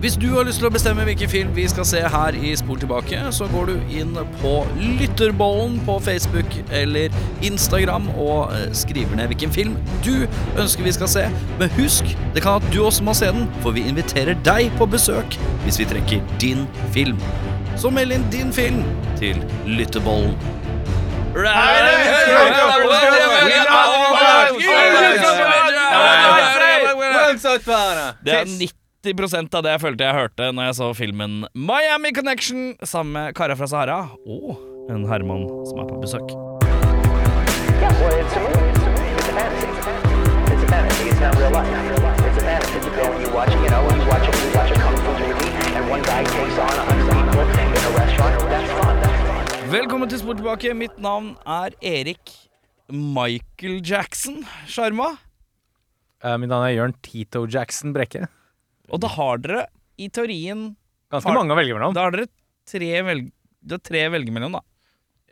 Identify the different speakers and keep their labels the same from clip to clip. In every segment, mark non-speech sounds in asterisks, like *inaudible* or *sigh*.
Speaker 1: Hvis du har lyst til å bestemme hvilken film vi skal se her i Spol tilbake, så går du inn på Lytterbollen på Facebook eller Instagram og eh, skriver ned hvilken film du ønsker vi skal se. Men husk, det kan at du også må se den, for vi inviterer deg på besøk hvis vi trekker din film. Så meld inn din film til Lytterbollen. Det er 90 av det jeg følte jeg hørte når jeg så filmen Miami Connection sammen med Kara fra Sahara og en Herman som er på besøk.
Speaker 2: Yeah, well, it's a movie. It's a fantasy. It's a fantasy. It's not real life. It's a fantasy. You go and you watch, you know, you watch a, you watch a kung fu movie, and one guy takes on a hundred people in a restaurant. That's fun. That's fun.
Speaker 1: Velkommen til Sport tilbake. Mitt navn er Erik Michael Jackson Sjarma.
Speaker 3: Eh, Mitt navn er Jørn Tito Jackson Brekke.
Speaker 1: Og da har dere i teorien
Speaker 3: Ganske
Speaker 1: Har-
Speaker 3: mange å velge mellom.
Speaker 1: Da har dere tre velg... Det er tre å velge mellom, da.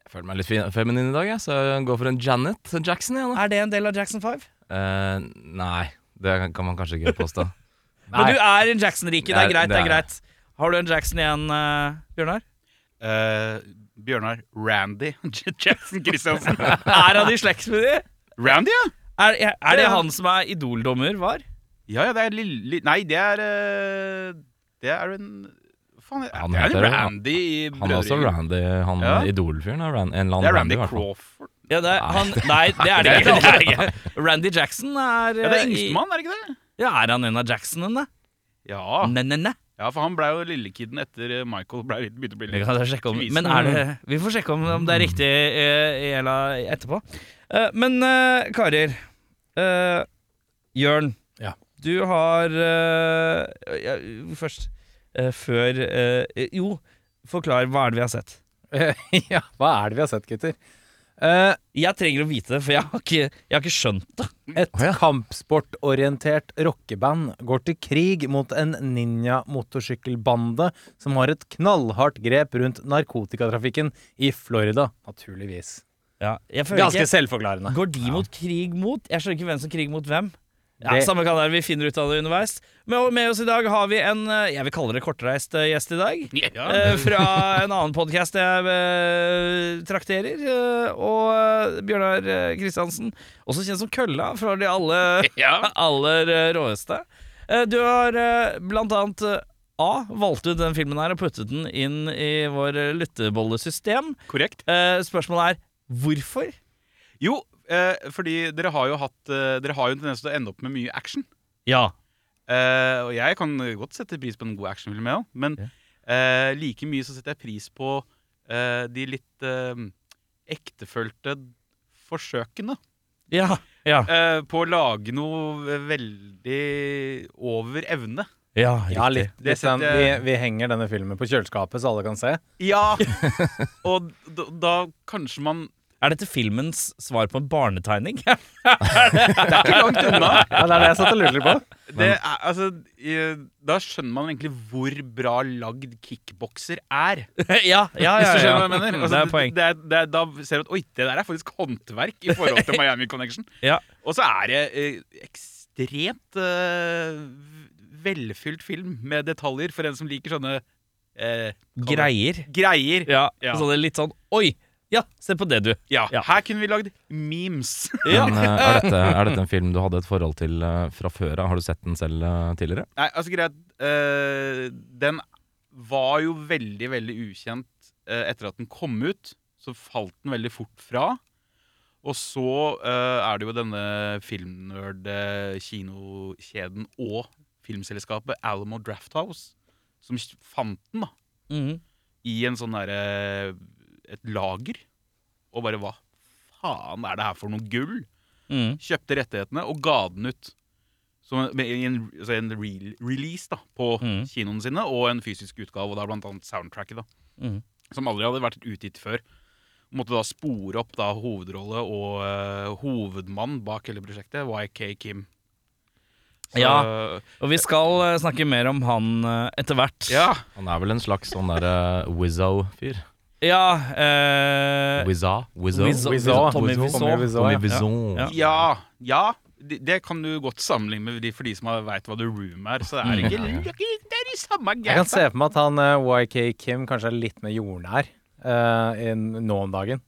Speaker 4: Jeg føler meg litt fin- feminin i dag, jeg, så jeg går for en Janet Jackson. Jeg, da.
Speaker 1: Er det en del av Jackson 5?
Speaker 4: Eh, nei, det kan man kanskje ikke påstå.
Speaker 1: Men du er en Jackson-rike. Det
Speaker 4: Det
Speaker 1: er
Speaker 4: er-
Speaker 1: greit.
Speaker 4: det
Speaker 1: det er
Speaker 4: er
Speaker 1: greit Har du en Jackson igjen, eh, Bjørnar?
Speaker 5: Eh, Bjørnar Randy *laughs* Jackson Christiansen.
Speaker 1: Er han i slekt med de?
Speaker 5: Randy, ja?
Speaker 1: Er, er det
Speaker 5: Ja.
Speaker 1: han som er idoldommer, var?
Speaker 5: Ja, ja, det er lille Nei, det er eh, Det er en Faen, det er,
Speaker 4: Han
Speaker 5: det er
Speaker 4: heter det.
Speaker 5: Randy i
Speaker 4: Han er også
Speaker 5: Brødrene.
Speaker 4: Randy, han
Speaker 5: Ja.
Speaker 4: idolfyren. Er Ran, en eller annen
Speaker 5: Det er Randy
Speaker 4: i hvert fall.
Speaker 5: Crawford.
Speaker 1: Ja, det er, han, nei, det er det ikke. *laughs* Det er det ikke. Randy Jackson er
Speaker 5: Ja, det er
Speaker 1: eh, i-
Speaker 5: yngstemann, er det ikke det?
Speaker 1: Ja, er han en av Jacksonene?
Speaker 5: Ja,
Speaker 4: Mm.
Speaker 1: Ne, ne, ne.
Speaker 5: ja for han ble jo lillekiden etter eh, Michael ble, begynte å bli
Speaker 1: Vi
Speaker 5: litt
Speaker 1: kan sjekke om Men er det Vi får sjekke om, om det er riktig eh, eller etterpå. Eh, men eh, karer eh, Jørn,
Speaker 3: Ja.
Speaker 1: du har eh, ja, Først eh, Før eh, Jo, forklar. Hva er det vi har sett?
Speaker 3: *laughs* ja, hva er det vi har sett, gutter? Eh,
Speaker 1: Jeg trenger å vite det, for jeg har ikke, jeg har ikke skjønt det.
Speaker 3: et kampsportorientert rockeband går til krig mot en ninja-motorsykkelbande som har et knallhardt grep rundt narkotikatrafikken i Florida, naturligvis.
Speaker 1: Ja, jeg føler
Speaker 3: Ganske
Speaker 1: ikke-
Speaker 3: selvforklarende.
Speaker 1: Går de mot krig mot? Jeg skjønner ikke hvem som krig mot hvem. Ja,
Speaker 3: Det-
Speaker 1: Samme kan det være, vi finner ut av det underveis. Med, med oss i dag har vi en eh, jeg vil kalle det kortreist eh, gjest i dag.
Speaker 5: Ja,
Speaker 1: Eh, fra en annen podkast jeg eh, trakterer. eh, og eh, Bjørnar eh, Kristiansen, også kjent som Kølla fra de alle
Speaker 5: ja.
Speaker 1: *laughs* aller eh, råeste. Eh, Du har eh, blant annet eh, A. Valgt ut den filmen her og puttet den inn i vår eh, lyttebollesystem.
Speaker 5: korrekt.
Speaker 1: Eh, Spørsmålet er hvorfor?
Speaker 5: Jo, eh, fordi dere har jo hatt eh, Dere har jo en tendens til å ende opp med mye action.
Speaker 1: Ja.
Speaker 5: Eh, og jeg kan godt sette pris på en god actionfilm, jeg òg. Men
Speaker 1: Ja.
Speaker 5: eh, like mye så setter jeg pris på eh, de litt eh, ektefølte forsøkene
Speaker 1: Ja. Ja.
Speaker 5: eh, på å lage noe veldig over evne.
Speaker 1: ja,
Speaker 3: Ja, litt,
Speaker 5: Det
Speaker 3: litt sånn, vi,
Speaker 5: setter-
Speaker 3: vi henger denne filmen på kjøleskapet, så alle kan se.
Speaker 5: Ja! *laughs* og da, da kanskje man
Speaker 1: Er dette filmens svar på en barnetegning? *laughs*
Speaker 5: Det er ikke langt unna.
Speaker 3: Ja, det er det jeg satt og lurte litt på.
Speaker 5: Det er, altså, eh, da skjønner man egentlig hvor bra lagd kickbokser er.
Speaker 1: ja, ja, ja, ja.
Speaker 5: Hvis du skjønner hva jeg mener. Altså,
Speaker 1: det er poeng.
Speaker 5: Det er, det er, da ser du at oi, det der er faktisk håndverk i forhold til Miami Connection.
Speaker 1: *laughs* Ja.
Speaker 5: Og så er det eh, ekstremt eh, velfylt film med detaljer for en som liker sånne eh,
Speaker 1: Greier.
Speaker 5: greier.
Speaker 1: Ja,
Speaker 5: Ja.
Speaker 1: Så det er litt sånn Oi! Ja, se på det, du.
Speaker 5: Ja,
Speaker 1: Ja.
Speaker 5: her kunne vi lagd memes.
Speaker 4: Men eh, er, dette, er dette en film du hadde et forhold til eh, fra før av? Har du sett den selv eh, tidligere?
Speaker 5: Nei, altså greit eh, Den var jo veldig, veldig ukjent eh, etter at den kom ut. Så falt den veldig fort fra. Og så eh, er det jo denne filmnerd-kinokjeden og filmselskapet Alamo Drafthouse som s- fant den da,
Speaker 1: Mhm.
Speaker 5: i en sånn derre Et lager. Og bare hva faen er det her for noe gull?
Speaker 1: Mhm.
Speaker 5: kjøpte rettighetene og ga den ut. Som en, med en, altså en re release da, på
Speaker 1: Mhm.
Speaker 3: Mm.
Speaker 5: kinoene sine, og en fysisk utgave, og da blant annet soundtracket. da,
Speaker 3: Mm.
Speaker 1: Mhm.
Speaker 5: Som aldri hadde vært utgitt før. Måtte da spore opp da hovedrolle og eh, hovedmann bak hele prosjektet, YK Kim. Så,
Speaker 1: Ja. Og vi skal eh, snakke mer om han eh, etter hvert.
Speaker 5: ja.
Speaker 4: Han er vel en slags sånn derre Wizzo-fyr.
Speaker 1: ja eh,
Speaker 4: Wizza? Wizzo?
Speaker 1: Wizzo.
Speaker 3: Wizzo.
Speaker 1: Tommy Wiseau.
Speaker 3: Tommy Wiseau,
Speaker 4: Tommy
Speaker 3: ja.
Speaker 4: Wiseau.
Speaker 1: Ja.
Speaker 5: Ja, ja, de- Det kan du godt sammenligne med de, for de som veit hva The Room er. Så det er ikke det er ikke- det er i samme
Speaker 3: Mm. Jeg kan
Speaker 5: gata.
Speaker 3: se for meg at han eh, YK Kim kanskje er litt mer jordnær eh, i- nå om dagen.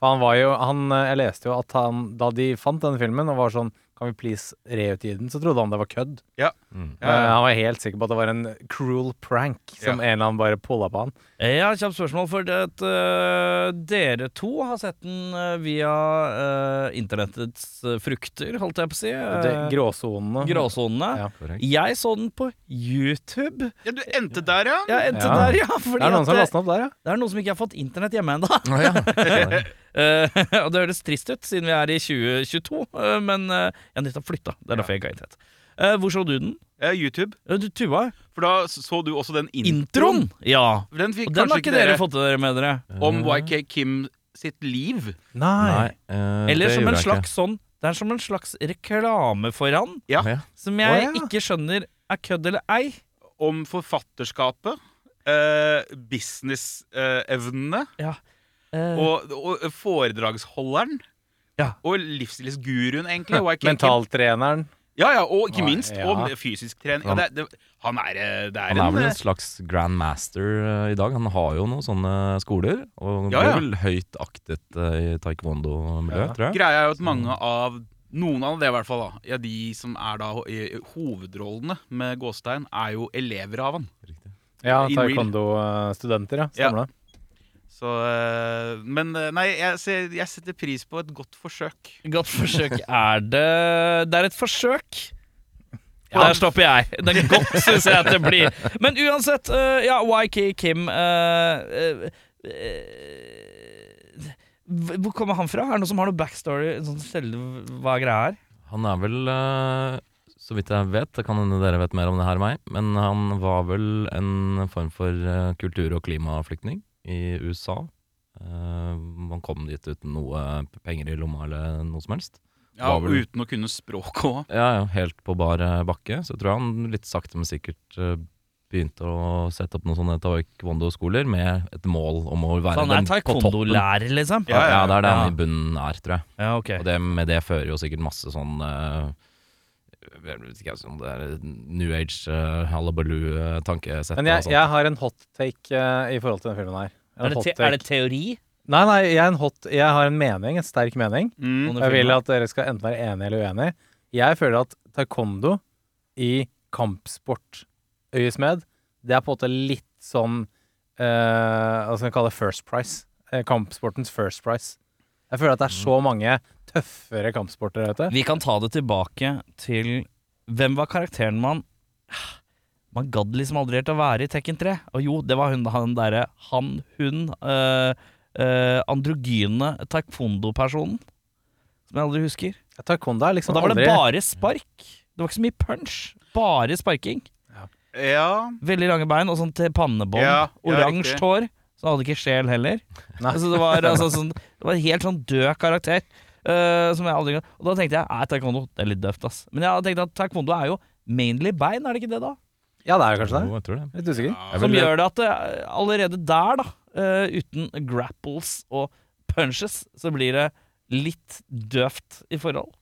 Speaker 3: For han var jo han, eh, Jeg leste jo at han, da de fant denne filmen og var sånn Kan vi please reutgi den? Så trodde han det var kødd.
Speaker 5: Ja.
Speaker 4: Mm.
Speaker 5: Ja, ja.
Speaker 3: Eh, han var helt sikker på at det var en cruel prank som en eller annen bare pulla på han.
Speaker 1: Jeg har et kjapt spørsmål, for det at, øh, dere to har sett den øh, via øh, internettets øh, frukter, holdt jeg på å si.
Speaker 3: Det,
Speaker 1: øh,
Speaker 3: gråsonene.
Speaker 1: Gråsonene.
Speaker 3: Ja.
Speaker 4: Korrekt.
Speaker 1: Jeg så den på YouTube.
Speaker 5: ja, du endte der, ja?
Speaker 1: Jeg endte
Speaker 3: Ja.
Speaker 1: der, ja. Fordi
Speaker 3: Det er noen som har
Speaker 1: at, eh,
Speaker 3: lastet den opp der, ja.
Speaker 1: det er noen som ikke har fått internett hjemme ennå.
Speaker 4: Å,
Speaker 1: *laughs*
Speaker 4: ja. Nei.
Speaker 1: Eh, og det høres trist ut, siden vi er i 2022, eh, men eh, jeg har nettopp flytta. Det er derfor jeg ikke har internett. Eh, hvor så du den?
Speaker 5: Eh, YouTube.
Speaker 1: Eh, Du, Tuva?
Speaker 5: For da så du også den introen.
Speaker 1: Introen! Ja.
Speaker 5: Den fikk
Speaker 1: Og den
Speaker 5: kanskje
Speaker 1: har
Speaker 5: ikke
Speaker 1: ikke
Speaker 5: dere
Speaker 1: dere fått dere med dere.
Speaker 5: om YK Kim sitt liv.
Speaker 4: Nei, eh,
Speaker 1: Eller
Speaker 4: det
Speaker 1: som
Speaker 4: gjorde
Speaker 1: en
Speaker 4: jeg ikke.
Speaker 1: slags sånn Det er som en slags reklame for han,
Speaker 5: Ja.
Speaker 4: Ja.
Speaker 1: som jeg
Speaker 3: Å, ja.
Speaker 1: ikke skjønner er kødd eller ei.
Speaker 5: Om forfatterskapet. Eh, Businessevnene.
Speaker 1: Ja. Eh,
Speaker 5: og, og foredragsholderen.
Speaker 1: Ja.
Speaker 5: Og livsstilsguruen, egentlig. YK Kim.
Speaker 3: Mentaltreneren.
Speaker 5: Ja, ja, og ikke
Speaker 3: Nei,
Speaker 5: minst og
Speaker 3: ja.
Speaker 5: fysisk trening. Ja, det, det, han er, eh, det er,
Speaker 4: Han er vel
Speaker 5: en,
Speaker 4: en slags grandmaster eh, i dag. Han har jo noen sånne skoler, og
Speaker 5: Ja, ja.
Speaker 4: blir vel høyt aktet eh, i taekwondo-miljøet,
Speaker 3: Ja.
Speaker 4: tror jeg.
Speaker 5: Greia er jo at mange av noen av det i hvert fall da ja, De som er da ho- i- i hovedrollene med Gåstein, er jo elever av han.
Speaker 4: Riktig.
Speaker 3: Ja,
Speaker 5: In real.
Speaker 3: taekwondo-studenter, ja. Stemmer det.
Speaker 5: Så, eh, men eh, nei, jeg, ser, jeg setter pris på et godt forsøk.
Speaker 1: Godt forsøk er det Det er et forsøk.
Speaker 5: Ja.
Speaker 1: Der stopper jeg. Det er godt, syns jeg at det blir. Men uansett, øh, ja, YK Kim eh, øh, øh, øh, hv- Hvor kommer han fra? Er det noen som har noe backstory? en Sånn selv, hva greia er?
Speaker 4: Han er vel, eh, så vidt jeg vet, det kan hende dere vet mer om det her enn meg, men han var vel en form for eh, kultur- og klimaflyktning i USA. Eh, han kom dit uten noe penger i lomma eller noe som helst. Var
Speaker 5: Ja, og
Speaker 4: vel-
Speaker 5: uten å kunne språket òg.
Speaker 4: Ja, ja, helt på bar eh, bakke. Så jeg tror han litt sakte, men sikkert eh, begynte å sette opp noen sånne taekwondo-skoler med et mål om å være
Speaker 1: Han er
Speaker 4: den på toppen.
Speaker 1: taekwondo-lærer, liksom?
Speaker 4: Ja, ja, det er det
Speaker 1: ja.
Speaker 4: han i bunnen er, tror jeg.
Speaker 1: Ja, ok.
Speaker 4: Og det, med det fører jo sikkert masse sånn eh, jeg vet ikke altså, om det er New Age, uh, hallabaloo-tankesett
Speaker 3: Men jeg, jeg har en hot take eh, i forhold til denne filmen her. En
Speaker 1: Er det,
Speaker 3: hot
Speaker 1: te
Speaker 3: take.
Speaker 1: er det teori?
Speaker 3: Nei, nei, jeg, er en hot, jeg har en mening, en sterk mening.
Speaker 5: Mm.
Speaker 1: om
Speaker 3: Jeg
Speaker 1: det
Speaker 3: vil
Speaker 1: filmen?
Speaker 3: at dere skal enten være enige eller uenige. Jeg føler at taekwondo i kampsportøyesmed, det er på en måte litt sånn eh, Hva skal jeg kalle det? First price. Eh, kampsportens first price. Jeg føler at det er så
Speaker 1: Mm.
Speaker 3: mange tøffere kampsporter der ute.
Speaker 1: Vi kan ta det tilbake til Hvem var karakteren man Man gadd liksom aldri helt å være i Tekken 3. Og jo, det var hun, han derre Han, hun øh, øh, androgyne taekwondo-personen. Som jeg aldri husker.
Speaker 3: Taekwondo er
Speaker 1: Og
Speaker 3: liksom
Speaker 1: da var
Speaker 3: aldri
Speaker 1: det bare spark. Det var ikke så mye punch. Bare sparking.
Speaker 5: Ja,
Speaker 1: Veldig lange bein og sånn til pannebånd.
Speaker 5: Ja, ja,
Speaker 1: Oransje
Speaker 5: riktig.
Speaker 1: hår. Så han hadde ikke sjel heller.
Speaker 3: Nei.
Speaker 1: Altså, det, var, altså, sånn, det var en helt sånn død karakter. eh, som jeg aldri Og da tenkte jeg nei, taekwondo det er litt døvt. ass Men jeg hadde tenkt at taekwondo er jo mainly bein, er det ikke det, da?
Speaker 3: Ja, det er jo kanskje det.
Speaker 4: Jo, jeg tror det.
Speaker 3: Litt usikker.
Speaker 4: Jeg
Speaker 1: Som
Speaker 4: vil,
Speaker 1: gjør det at det, er- allerede der, da, eh, uten grapples og punches, så blir det litt døvt i forhold.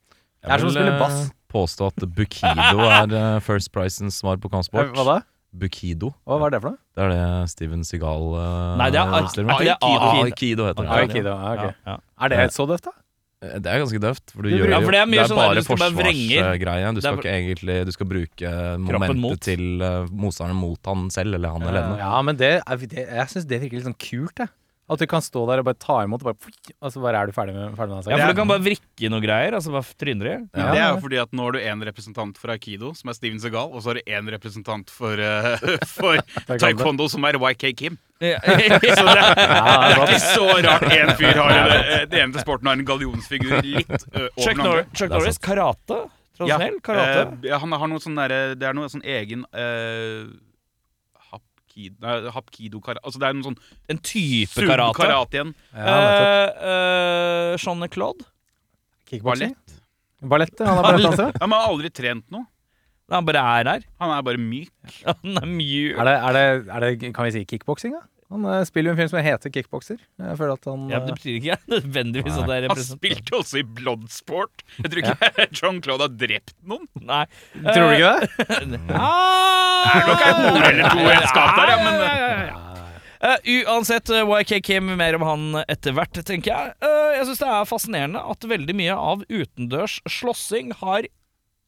Speaker 3: Jeg er som å spille
Speaker 4: eh,
Speaker 3: bass.
Speaker 4: påstå at Bukido er eh, First Pricens svar på kampsport.
Speaker 3: Eh, Hva da?
Speaker 4: Bukido.
Speaker 3: Hva var det for noe?
Speaker 4: Det er det Steven Seagal eh,
Speaker 1: Nei, det er ar-
Speaker 4: stiller
Speaker 1: ar-
Speaker 4: med.
Speaker 1: det er ar-
Speaker 4: Aikido heter det.
Speaker 3: Aikido. ja, ok.
Speaker 1: Ja.
Speaker 3: Er det så døft, da?
Speaker 4: Det er ganske døvt. For du
Speaker 3: Du bruker-
Speaker 4: gjør jo,
Speaker 1: Ja, for det er mye sånn der
Speaker 4: bare
Speaker 1: du skal bare vrenge.
Speaker 4: forsvarsgreie.
Speaker 1: Det er
Speaker 4: Du skal ikke egentlig Du skal bruke
Speaker 1: mot.
Speaker 4: momentet til eh, motstanderen mot han selv, eller han eller henne.
Speaker 3: Ja, men det, er- det, jeg syns det virker litt sånn kult, jeg. At du kan stå der og bare ta imot, og, bare, flikk, og så bare er du ferdig med, ferdig med den
Speaker 1: Ja, for
Speaker 3: saken.
Speaker 1: du kan bare vrikke noe greier, altså bare tryner de.
Speaker 5: Det er
Speaker 3: Ja.
Speaker 5: jo fordi at nå har du én representant for aikido, som er Steven Segal, og så har du én representant for, eh, *laughs* for taekwondo, som er YK *laughs* Kim. Så det er, det er ikke så rart én fyr har en, den ene til sporten har en gallionsfigur litt ø,
Speaker 1: *laughs*
Speaker 5: over
Speaker 1: Chuck,
Speaker 5: den
Speaker 1: Nor
Speaker 5: andre.
Speaker 1: Chuck
Speaker 4: Det er
Speaker 1: Norris, karate?
Speaker 5: Ja,
Speaker 1: Tradisjonell karate?
Speaker 5: eh, ja, han har noe sånn derre Det er noe sånn egen eh, hapkido, nei, hapkido karate Altså det er noe sånn
Speaker 1: En type karate?
Speaker 5: subkarate igjen.
Speaker 3: Ja, nettopp.
Speaker 1: Eh, eh, Jean-Claude?
Speaker 3: Kickboxing?
Speaker 5: Ballett.
Speaker 3: Ballett, ja. Han er ballettdanser. ja.
Speaker 5: Ja, men han har aldri trent noe.
Speaker 1: Han bare er her.
Speaker 5: Han er bare myk.
Speaker 1: Han er mjuk.
Speaker 3: Er det, er det, er det, kan vi si kickboksing, da? Han eh, spiller jo en film som heter Kickbokser. Jeg føler at han
Speaker 1: Ja, men
Speaker 3: eh,
Speaker 1: det betyr ikke *laughs* nødvendigvis at det er
Speaker 5: Han
Speaker 1: represent...
Speaker 5: spilte jo også i Bloodsport. Jeg tror ikke *laughs* Jean-Claude har drept noen.
Speaker 1: Nei.
Speaker 3: eh,
Speaker 1: Eh, Ah!
Speaker 3: Tror du ikke det?
Speaker 5: Det er nok en hore eller to i et skap der, ja, men
Speaker 1: Eh, uansett, eh, YKK med mer om han etter hvert, tenker jeg. Eh, jeg syns det er fascinerende at veldig mye av utendørs slåssing har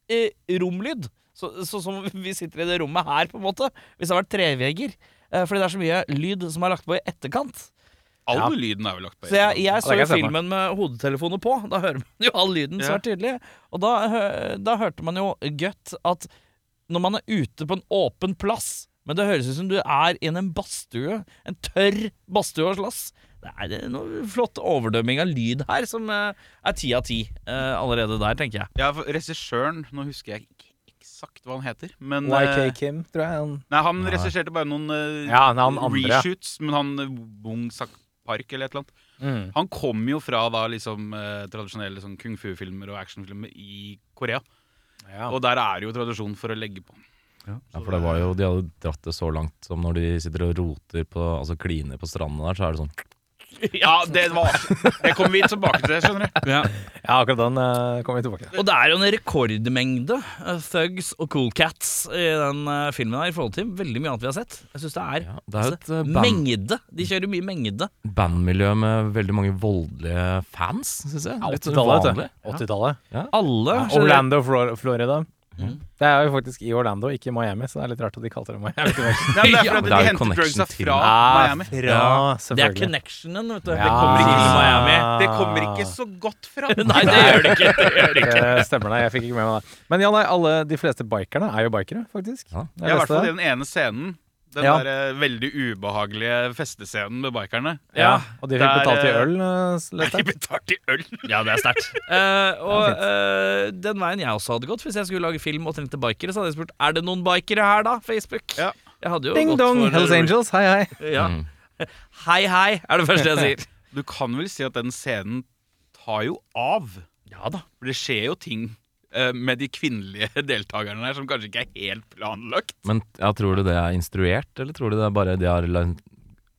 Speaker 1: eh, romlyd. Så, så som *laughs* vi sitter i det rommet her, på en måte. Hvis det har vært trevegger. Eh, fordi det er så mye lyd som er lagt på i etterkant.
Speaker 5: all lyden er jo lagt på.
Speaker 1: Så jeg, jeg så
Speaker 3: kan
Speaker 1: jo
Speaker 3: jeg se for meg.
Speaker 1: filmen med hodetelefoner på. Da hører man jo all lyden
Speaker 5: Ja.
Speaker 1: svært tydelig. Og da, hø- da hørte man jo godt at når man er ute på en åpen plass Men det høres ut som du er i en badstue. En tørr badstue og slåss. Det er det noe flott overdømming av lyd her som eh, er ti av ti eh, allerede der, tenker jeg.
Speaker 5: Ja, for Regissøren Nå husker jeg ikke eksakt hva han heter. Men, eh,
Speaker 3: YK Kim, tror jeg. Han.
Speaker 5: Nei, han regisserte bare noen eh,
Speaker 3: Ja, han er han andre.
Speaker 5: reshoots, men han eh, Wong Sak Park eller et eller annet.
Speaker 3: Mm.
Speaker 5: Han kom jo fra da liksom eh, tradisjonelle sånn kung fu-filmer og actionfilmer i Korea.
Speaker 3: Ja.
Speaker 5: Og der er det jo tradisjon for å legge på.
Speaker 4: Ja, for det var jo, De hadde dratt det så langt som når de sitter og roter på Altså kliner på stranda der, så er det sånn
Speaker 5: Ja, det var Det kommer vi tilbake til, skjønner du.
Speaker 3: ja, akkurat den eh, kommer vi tilbake til.
Speaker 1: Og det er jo en rekordmengde eh, thugs og cool cats i den eh, filmen her i forhold til veldig mye annet vi har sett. Jeg syns det er
Speaker 4: ja, Det er jo et eh, band,
Speaker 1: Altså, mengde. De kjører mye mengde.
Speaker 4: bandmiljø med veldig mange voldelige fans, syns jeg. Litt sånn
Speaker 3: 80-tallet, vet
Speaker 4: vanlig.
Speaker 3: du. 80-tallet.
Speaker 1: Alle
Speaker 3: Ja, Orlando, Flor Florida. Det er jo faktisk i Orlando, ikke i Miami, så det er litt rart at de kalte det Miami. Connection.
Speaker 5: Nei, men det er
Speaker 1: Ja,
Speaker 5: fordi
Speaker 4: men det er
Speaker 5: de
Speaker 4: jo
Speaker 5: henter
Speaker 4: connection
Speaker 5: drugsa
Speaker 4: til-
Speaker 5: fra
Speaker 3: Ah,
Speaker 5: Miami.
Speaker 3: Fra,
Speaker 1: Ja, Det er
Speaker 3: selvfølgelig.
Speaker 1: connectionen, vet du.
Speaker 3: Ja.
Speaker 1: Det kommer ikke i Miami.
Speaker 5: Det kommer ikke så godt fra.
Speaker 1: Nei, det gjør det ikke. Det gjør det ikke.
Speaker 3: Det stemmer, nei. Jeg fikk ikke med meg det. Men ja, nei, alle de fleste bikerne er jo bikere, faktisk.
Speaker 4: Ja.
Speaker 3: Jeg
Speaker 5: Ja, I hvert
Speaker 3: leste
Speaker 5: fall i
Speaker 3: det.
Speaker 5: den ene scenen. Den
Speaker 3: Ja.
Speaker 5: der eh, veldig ubehagelige festescenen med bikerne.
Speaker 3: Ja, og de fikk
Speaker 5: Der,
Speaker 3: betalt i
Speaker 5: eh,
Speaker 3: øl, eh, s- leste
Speaker 5: De
Speaker 3: jeg.
Speaker 5: betalte i øl!
Speaker 1: Ja, det er sterkt. og eh, den veien jeg også hadde gått hvis jeg skulle lage film og trengte bikere, så hadde jeg spurt er det noen bikere her, da? Facebook.
Speaker 5: Ja.
Speaker 1: Jeg hadde jo
Speaker 3: Ding
Speaker 1: gått for-
Speaker 3: dong, Hells Angels, hei hei.
Speaker 1: Ja.
Speaker 4: Mm.
Speaker 1: *laughs* Hei, hei, er det
Speaker 3: *laughs*
Speaker 1: første jeg sier.
Speaker 5: Du kan vel si at den scenen tar jo av.
Speaker 1: Ja da.
Speaker 5: For det skjer jo ting eh, med de kvinnelige *laughs* deltakerne her som kanskje ikke er helt planlagt.
Speaker 4: Men ja, tror du det er instruert, eller tror du det er bare de har la-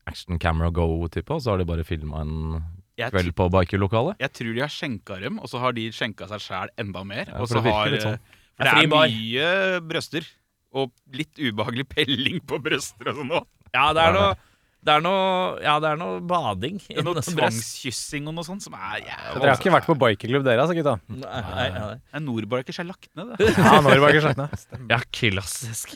Speaker 4: action camera go-type, og så har de bare filma en
Speaker 5: Jeg,
Speaker 4: kveld
Speaker 5: tr-
Speaker 4: på bikerlokalet?
Speaker 5: jeg tror de har skjenka dem, og så har de skjenka seg sjæl enda mer.
Speaker 4: Ja,
Speaker 5: og
Speaker 4: for
Speaker 5: så
Speaker 4: det virker
Speaker 5: har
Speaker 4: litt sånn.
Speaker 5: eh, For
Speaker 1: Det
Speaker 5: det
Speaker 1: er fri
Speaker 5: er
Speaker 1: bar.
Speaker 5: mye brøster. Og litt ubehagelig pelling på brøster og sånn òg.
Speaker 1: Ja, det er noe det er noe, ja, det er noe bading.
Speaker 5: Det er noe
Speaker 1: innom brest.
Speaker 5: tvangskyssing og noe sånt som
Speaker 3: Så
Speaker 5: er
Speaker 3: Dere har
Speaker 5: jævlig.
Speaker 3: ikke vært på bikerklubb dere, altså, gutta?
Speaker 1: Nei, nei, nei.
Speaker 5: Norbarkers er lagt ned, det.
Speaker 3: *laughs* Ja, når var ikke slakten, ja.
Speaker 1: Ja, klassisk.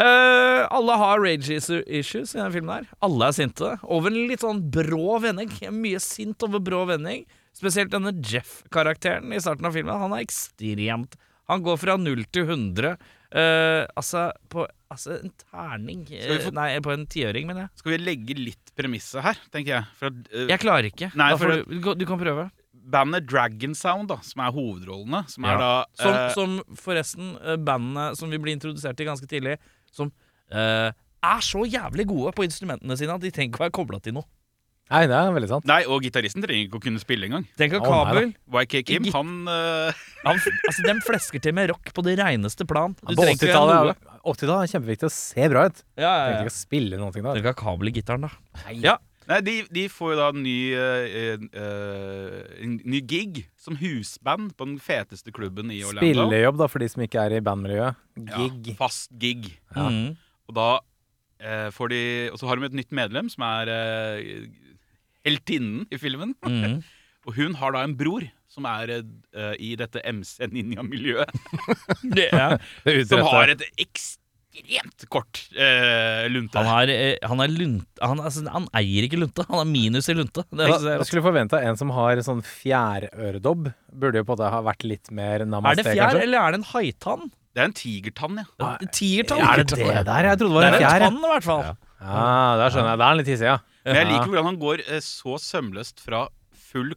Speaker 1: alle har rage isu- issues i denne filmen. her Alle er sinte. Over en litt sånn brå vending. Mye sint over brå vending. Spesielt denne Jeff-karakteren i starten av filmen. Han er ekstremt Han går fra null til 100. eh, altså, på altså en terning
Speaker 5: Skal vi
Speaker 1: eh,
Speaker 5: få-
Speaker 1: Nei, på en tiøring, mener jeg.
Speaker 5: Skal vi legge litt premisset her, tenker jeg. For at, eh,
Speaker 1: Jeg klarer ikke.
Speaker 5: Nei,
Speaker 1: Da
Speaker 5: for
Speaker 1: får du, du kan prøve.
Speaker 5: bandet Dragon Sound, da, som er hovedrollene, som
Speaker 4: Ja.
Speaker 5: er da
Speaker 1: Som,
Speaker 5: eh,
Speaker 1: som forresten eh, bandene som vi ble introdusert til ganske tidlig, som eh, er så jævlig gode på instrumentene sine at de trenger ikke å være kobla til noe.
Speaker 3: Nei, det er veldig sant.
Speaker 5: Nei, og gitaristen trenger ikke å kunne spille engang.
Speaker 1: Tenk at
Speaker 3: Å, nei da.
Speaker 1: Kabel
Speaker 5: YK Kim,
Speaker 1: Git-
Speaker 5: han eh,
Speaker 1: han, altså, Dem flesker til med rock på det reineste plan. Du
Speaker 3: På
Speaker 1: trenger ikke gjøre
Speaker 3: 80-tallet
Speaker 1: noe.
Speaker 3: er, 80-tallet er kjempeviktig å se bra ut.
Speaker 1: Ja, ja,
Speaker 3: Tenkte
Speaker 1: ja.
Speaker 3: ikke å spille noen ting da.
Speaker 1: Tenk at Kabel i gitaren, da.
Speaker 5: Nei, de, de får jo da en ny eh, eh, En ny gig som husband på den feteste klubben i Orlando.
Speaker 3: Spillejobb, da, for de som ikke er i bandmiljøet. Gig.
Speaker 5: Ja, fast gig.
Speaker 3: Ja.
Speaker 1: Mm.
Speaker 5: Og da eh, får de Og så har de et nytt medlem som er eh, heltinnen i filmen.
Speaker 3: *laughs*
Speaker 1: Mm.
Speaker 5: Og hun har da en bror som er eh, i dette MC Ninja-miljøet.
Speaker 1: Det, ja.
Speaker 5: Som har et ekstremt kort eh, lunte.
Speaker 1: Han, har, eh, han er lunt... Han, altså, han eier ikke lunte, han er minus i lunte. Det er,
Speaker 3: Da, jeg skulle forventa en som har sånn fjærøredobb. Burde jo på det ha vært litt mer
Speaker 1: er
Speaker 3: namaste,
Speaker 1: det fjær,
Speaker 3: kanskje.
Speaker 1: eller er det en haitann?
Speaker 5: Det er en tigertann, ja.
Speaker 1: En Tiertann?
Speaker 3: Er det det der? Jeg trodde det
Speaker 1: Det
Speaker 3: var
Speaker 1: er
Speaker 3: en
Speaker 1: en
Speaker 3: fjær.
Speaker 1: tann, i hvert fall.
Speaker 3: Ja, der skjønner jeg. Da er han litt hissig, ja.
Speaker 5: Men jeg liker hvordan han går eh, så sømløst fra full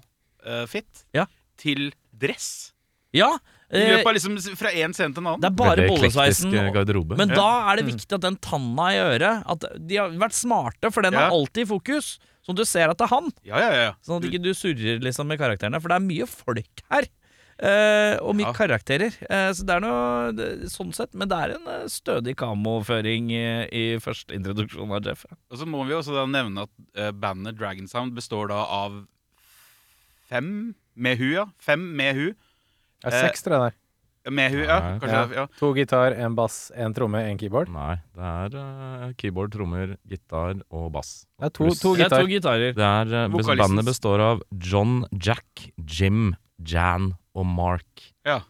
Speaker 5: kammo-fit
Speaker 1: Ja.
Speaker 5: til dress.
Speaker 1: Ja,
Speaker 5: I
Speaker 1: eh,
Speaker 5: løpet av liksom s- fra én scene til en
Speaker 1: det
Speaker 5: annen.
Speaker 1: er bare
Speaker 4: Veldig
Speaker 1: bollesveisen.
Speaker 4: eklektisk, eh, garderobe.
Speaker 1: Men da er det
Speaker 4: Mm.
Speaker 1: viktig at den tanna i øret At De har vært smarte, for den
Speaker 5: Ja.
Speaker 1: er alltid i fokus. Sånn at du ser at det er han,
Speaker 5: Ja, ja, ja.
Speaker 4: Mm.
Speaker 1: sånn at
Speaker 5: Du-
Speaker 1: ikke du surrer liksom med karakterene. For det er mye folk her. eh, og mye
Speaker 5: Ja.
Speaker 1: karakterer. Eh, så det er noe det, sånn sett, men det er en eh, stødig kamoføring eh, i første introduksjon av Jeff.
Speaker 5: Og så må vi også da nevne at eh, bandet Dragon Sound består da av fem med hu, ja. Fem med hu.
Speaker 3: Det er seks, tror jeg det er.
Speaker 5: Med hu, ja.
Speaker 4: Nei.
Speaker 5: Kanskje, ja.
Speaker 3: To gitar, en bass, en tromme, en keyboard.
Speaker 4: Nei, det er eh, keyboard, trommer, gitar og bass.
Speaker 3: Det er to,
Speaker 4: Pluss-
Speaker 3: to
Speaker 1: Det er to
Speaker 3: gitar.
Speaker 1: gitarer.
Speaker 4: Det er, eh, bes-
Speaker 5: Vokalistens-
Speaker 4: bandet består av John, Jack, Jim, Jan og Mark.
Speaker 5: ja.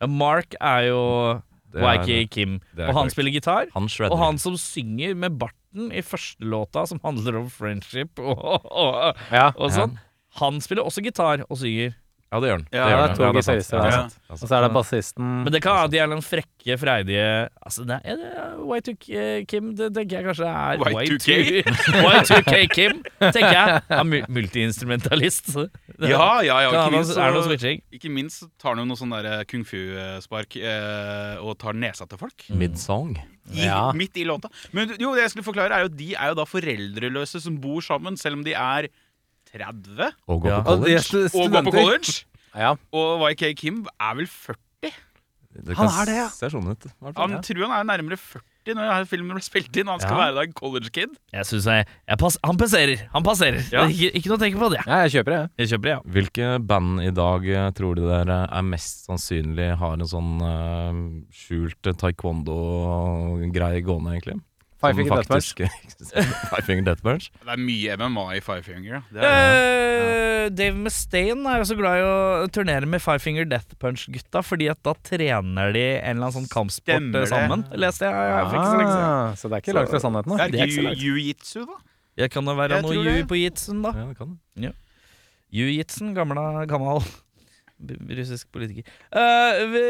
Speaker 1: Ja, Mark er jo
Speaker 4: Det er-
Speaker 1: YK Kim,
Speaker 4: det er
Speaker 1: og han
Speaker 4: korrekt.
Speaker 1: spiller gitar.
Speaker 4: Han shredder.
Speaker 1: Og han som synger med barten i første låta, som handler om friendship *laughs* og, og,
Speaker 3: Ja.
Speaker 1: og sånn, han spiller også gitar og synger.
Speaker 4: Ja, det gjør han.
Speaker 5: Ja,
Speaker 4: gjør
Speaker 5: det er
Speaker 4: han.
Speaker 3: to
Speaker 4: sant.
Speaker 3: gitarister,
Speaker 4: Ja, det er
Speaker 5: ja.
Speaker 4: sant. Det er
Speaker 3: Og
Speaker 4: sant.
Speaker 3: så er det bassisten
Speaker 1: Men det kan være at de er noen frekke, freidige Altså, det er, det er Y2K eh, Kim, det tenker jeg kanskje er
Speaker 5: Y2K?
Speaker 1: *laughs* Y2K Kim, tenker jeg. Han er mu- multiinstrumentalist. så det-
Speaker 5: Ja, ja, ja.
Speaker 1: Kan
Speaker 5: Ikke
Speaker 1: han ha-
Speaker 5: minst,
Speaker 1: er det noe
Speaker 5: så,
Speaker 1: switching?
Speaker 5: ikke minst så tar han jo noe sånn der eh, kung fu-spark eh, og tar nesa til folk.
Speaker 4: Mm. Mid-song.
Speaker 5: I,
Speaker 3: Ja.
Speaker 5: Midt i låta. Men jo, det jeg skulle forklare, er jo at de er jo da foreldreløse som bor sammen, selv om de er 30
Speaker 4: Og går
Speaker 1: Ja.
Speaker 4: på
Speaker 3: Og de er
Speaker 4: college.
Speaker 3: stu-
Speaker 5: og går på
Speaker 3: studenter.
Speaker 5: college.
Speaker 3: Ja.
Speaker 5: Og YK Kim er vel 40?
Speaker 4: Det
Speaker 3: Han
Speaker 4: kan
Speaker 3: er det, ja.
Speaker 4: Ser sånn ut. i hvert fall.
Speaker 5: Han tror han er nærmere 40 når denne filmen ble spilt inn. og Han skal
Speaker 4: Ja.
Speaker 5: være da en college kid.
Speaker 1: Jeg synes jeg, jeg pass, Han passerer! Han passerer.
Speaker 5: Ja.
Speaker 1: Det er Ikke, ikke noe å tenke på det.
Speaker 3: ja, jeg kjøper det. jeg.
Speaker 1: Jeg kjøper det, ja.
Speaker 4: Hvilke band i dag eh, tror du dere er mest sannsynlig har en sånn eh, skjult taekwondo-greie gående, egentlig?
Speaker 3: Five
Speaker 4: Som
Speaker 3: Finger Death Punch.
Speaker 4: faktisk- *laughs* Five Finger Death Punch.
Speaker 5: Det er mye MMA i Five Finger. Da. Det er,
Speaker 1: Eh, Dave Mustaine er jo så glad i å turnere med Five Finger Death Punch-gutta, fordi at da trener de en eller annen sånn kampsport
Speaker 5: Stemmer
Speaker 1: eh,
Speaker 5: det.
Speaker 1: sammen, leste jeg. jeg, for ikke så lenge siden.
Speaker 3: Ah, så det er ikke langt fra sannheten, da.
Speaker 5: det
Speaker 1: det er
Speaker 5: er
Speaker 1: ikke så
Speaker 5: ju-
Speaker 1: langt.
Speaker 5: jiu-jitsu, da.
Speaker 1: Jeg kan jo være
Speaker 5: Jeg
Speaker 1: noe
Speaker 5: tror
Speaker 1: ju
Speaker 5: det.
Speaker 1: på jitsen, da.
Speaker 4: Ja, det kan det.
Speaker 1: Jiu-jitsen, gamla, gammel b- russisk politiker. Eh, vi,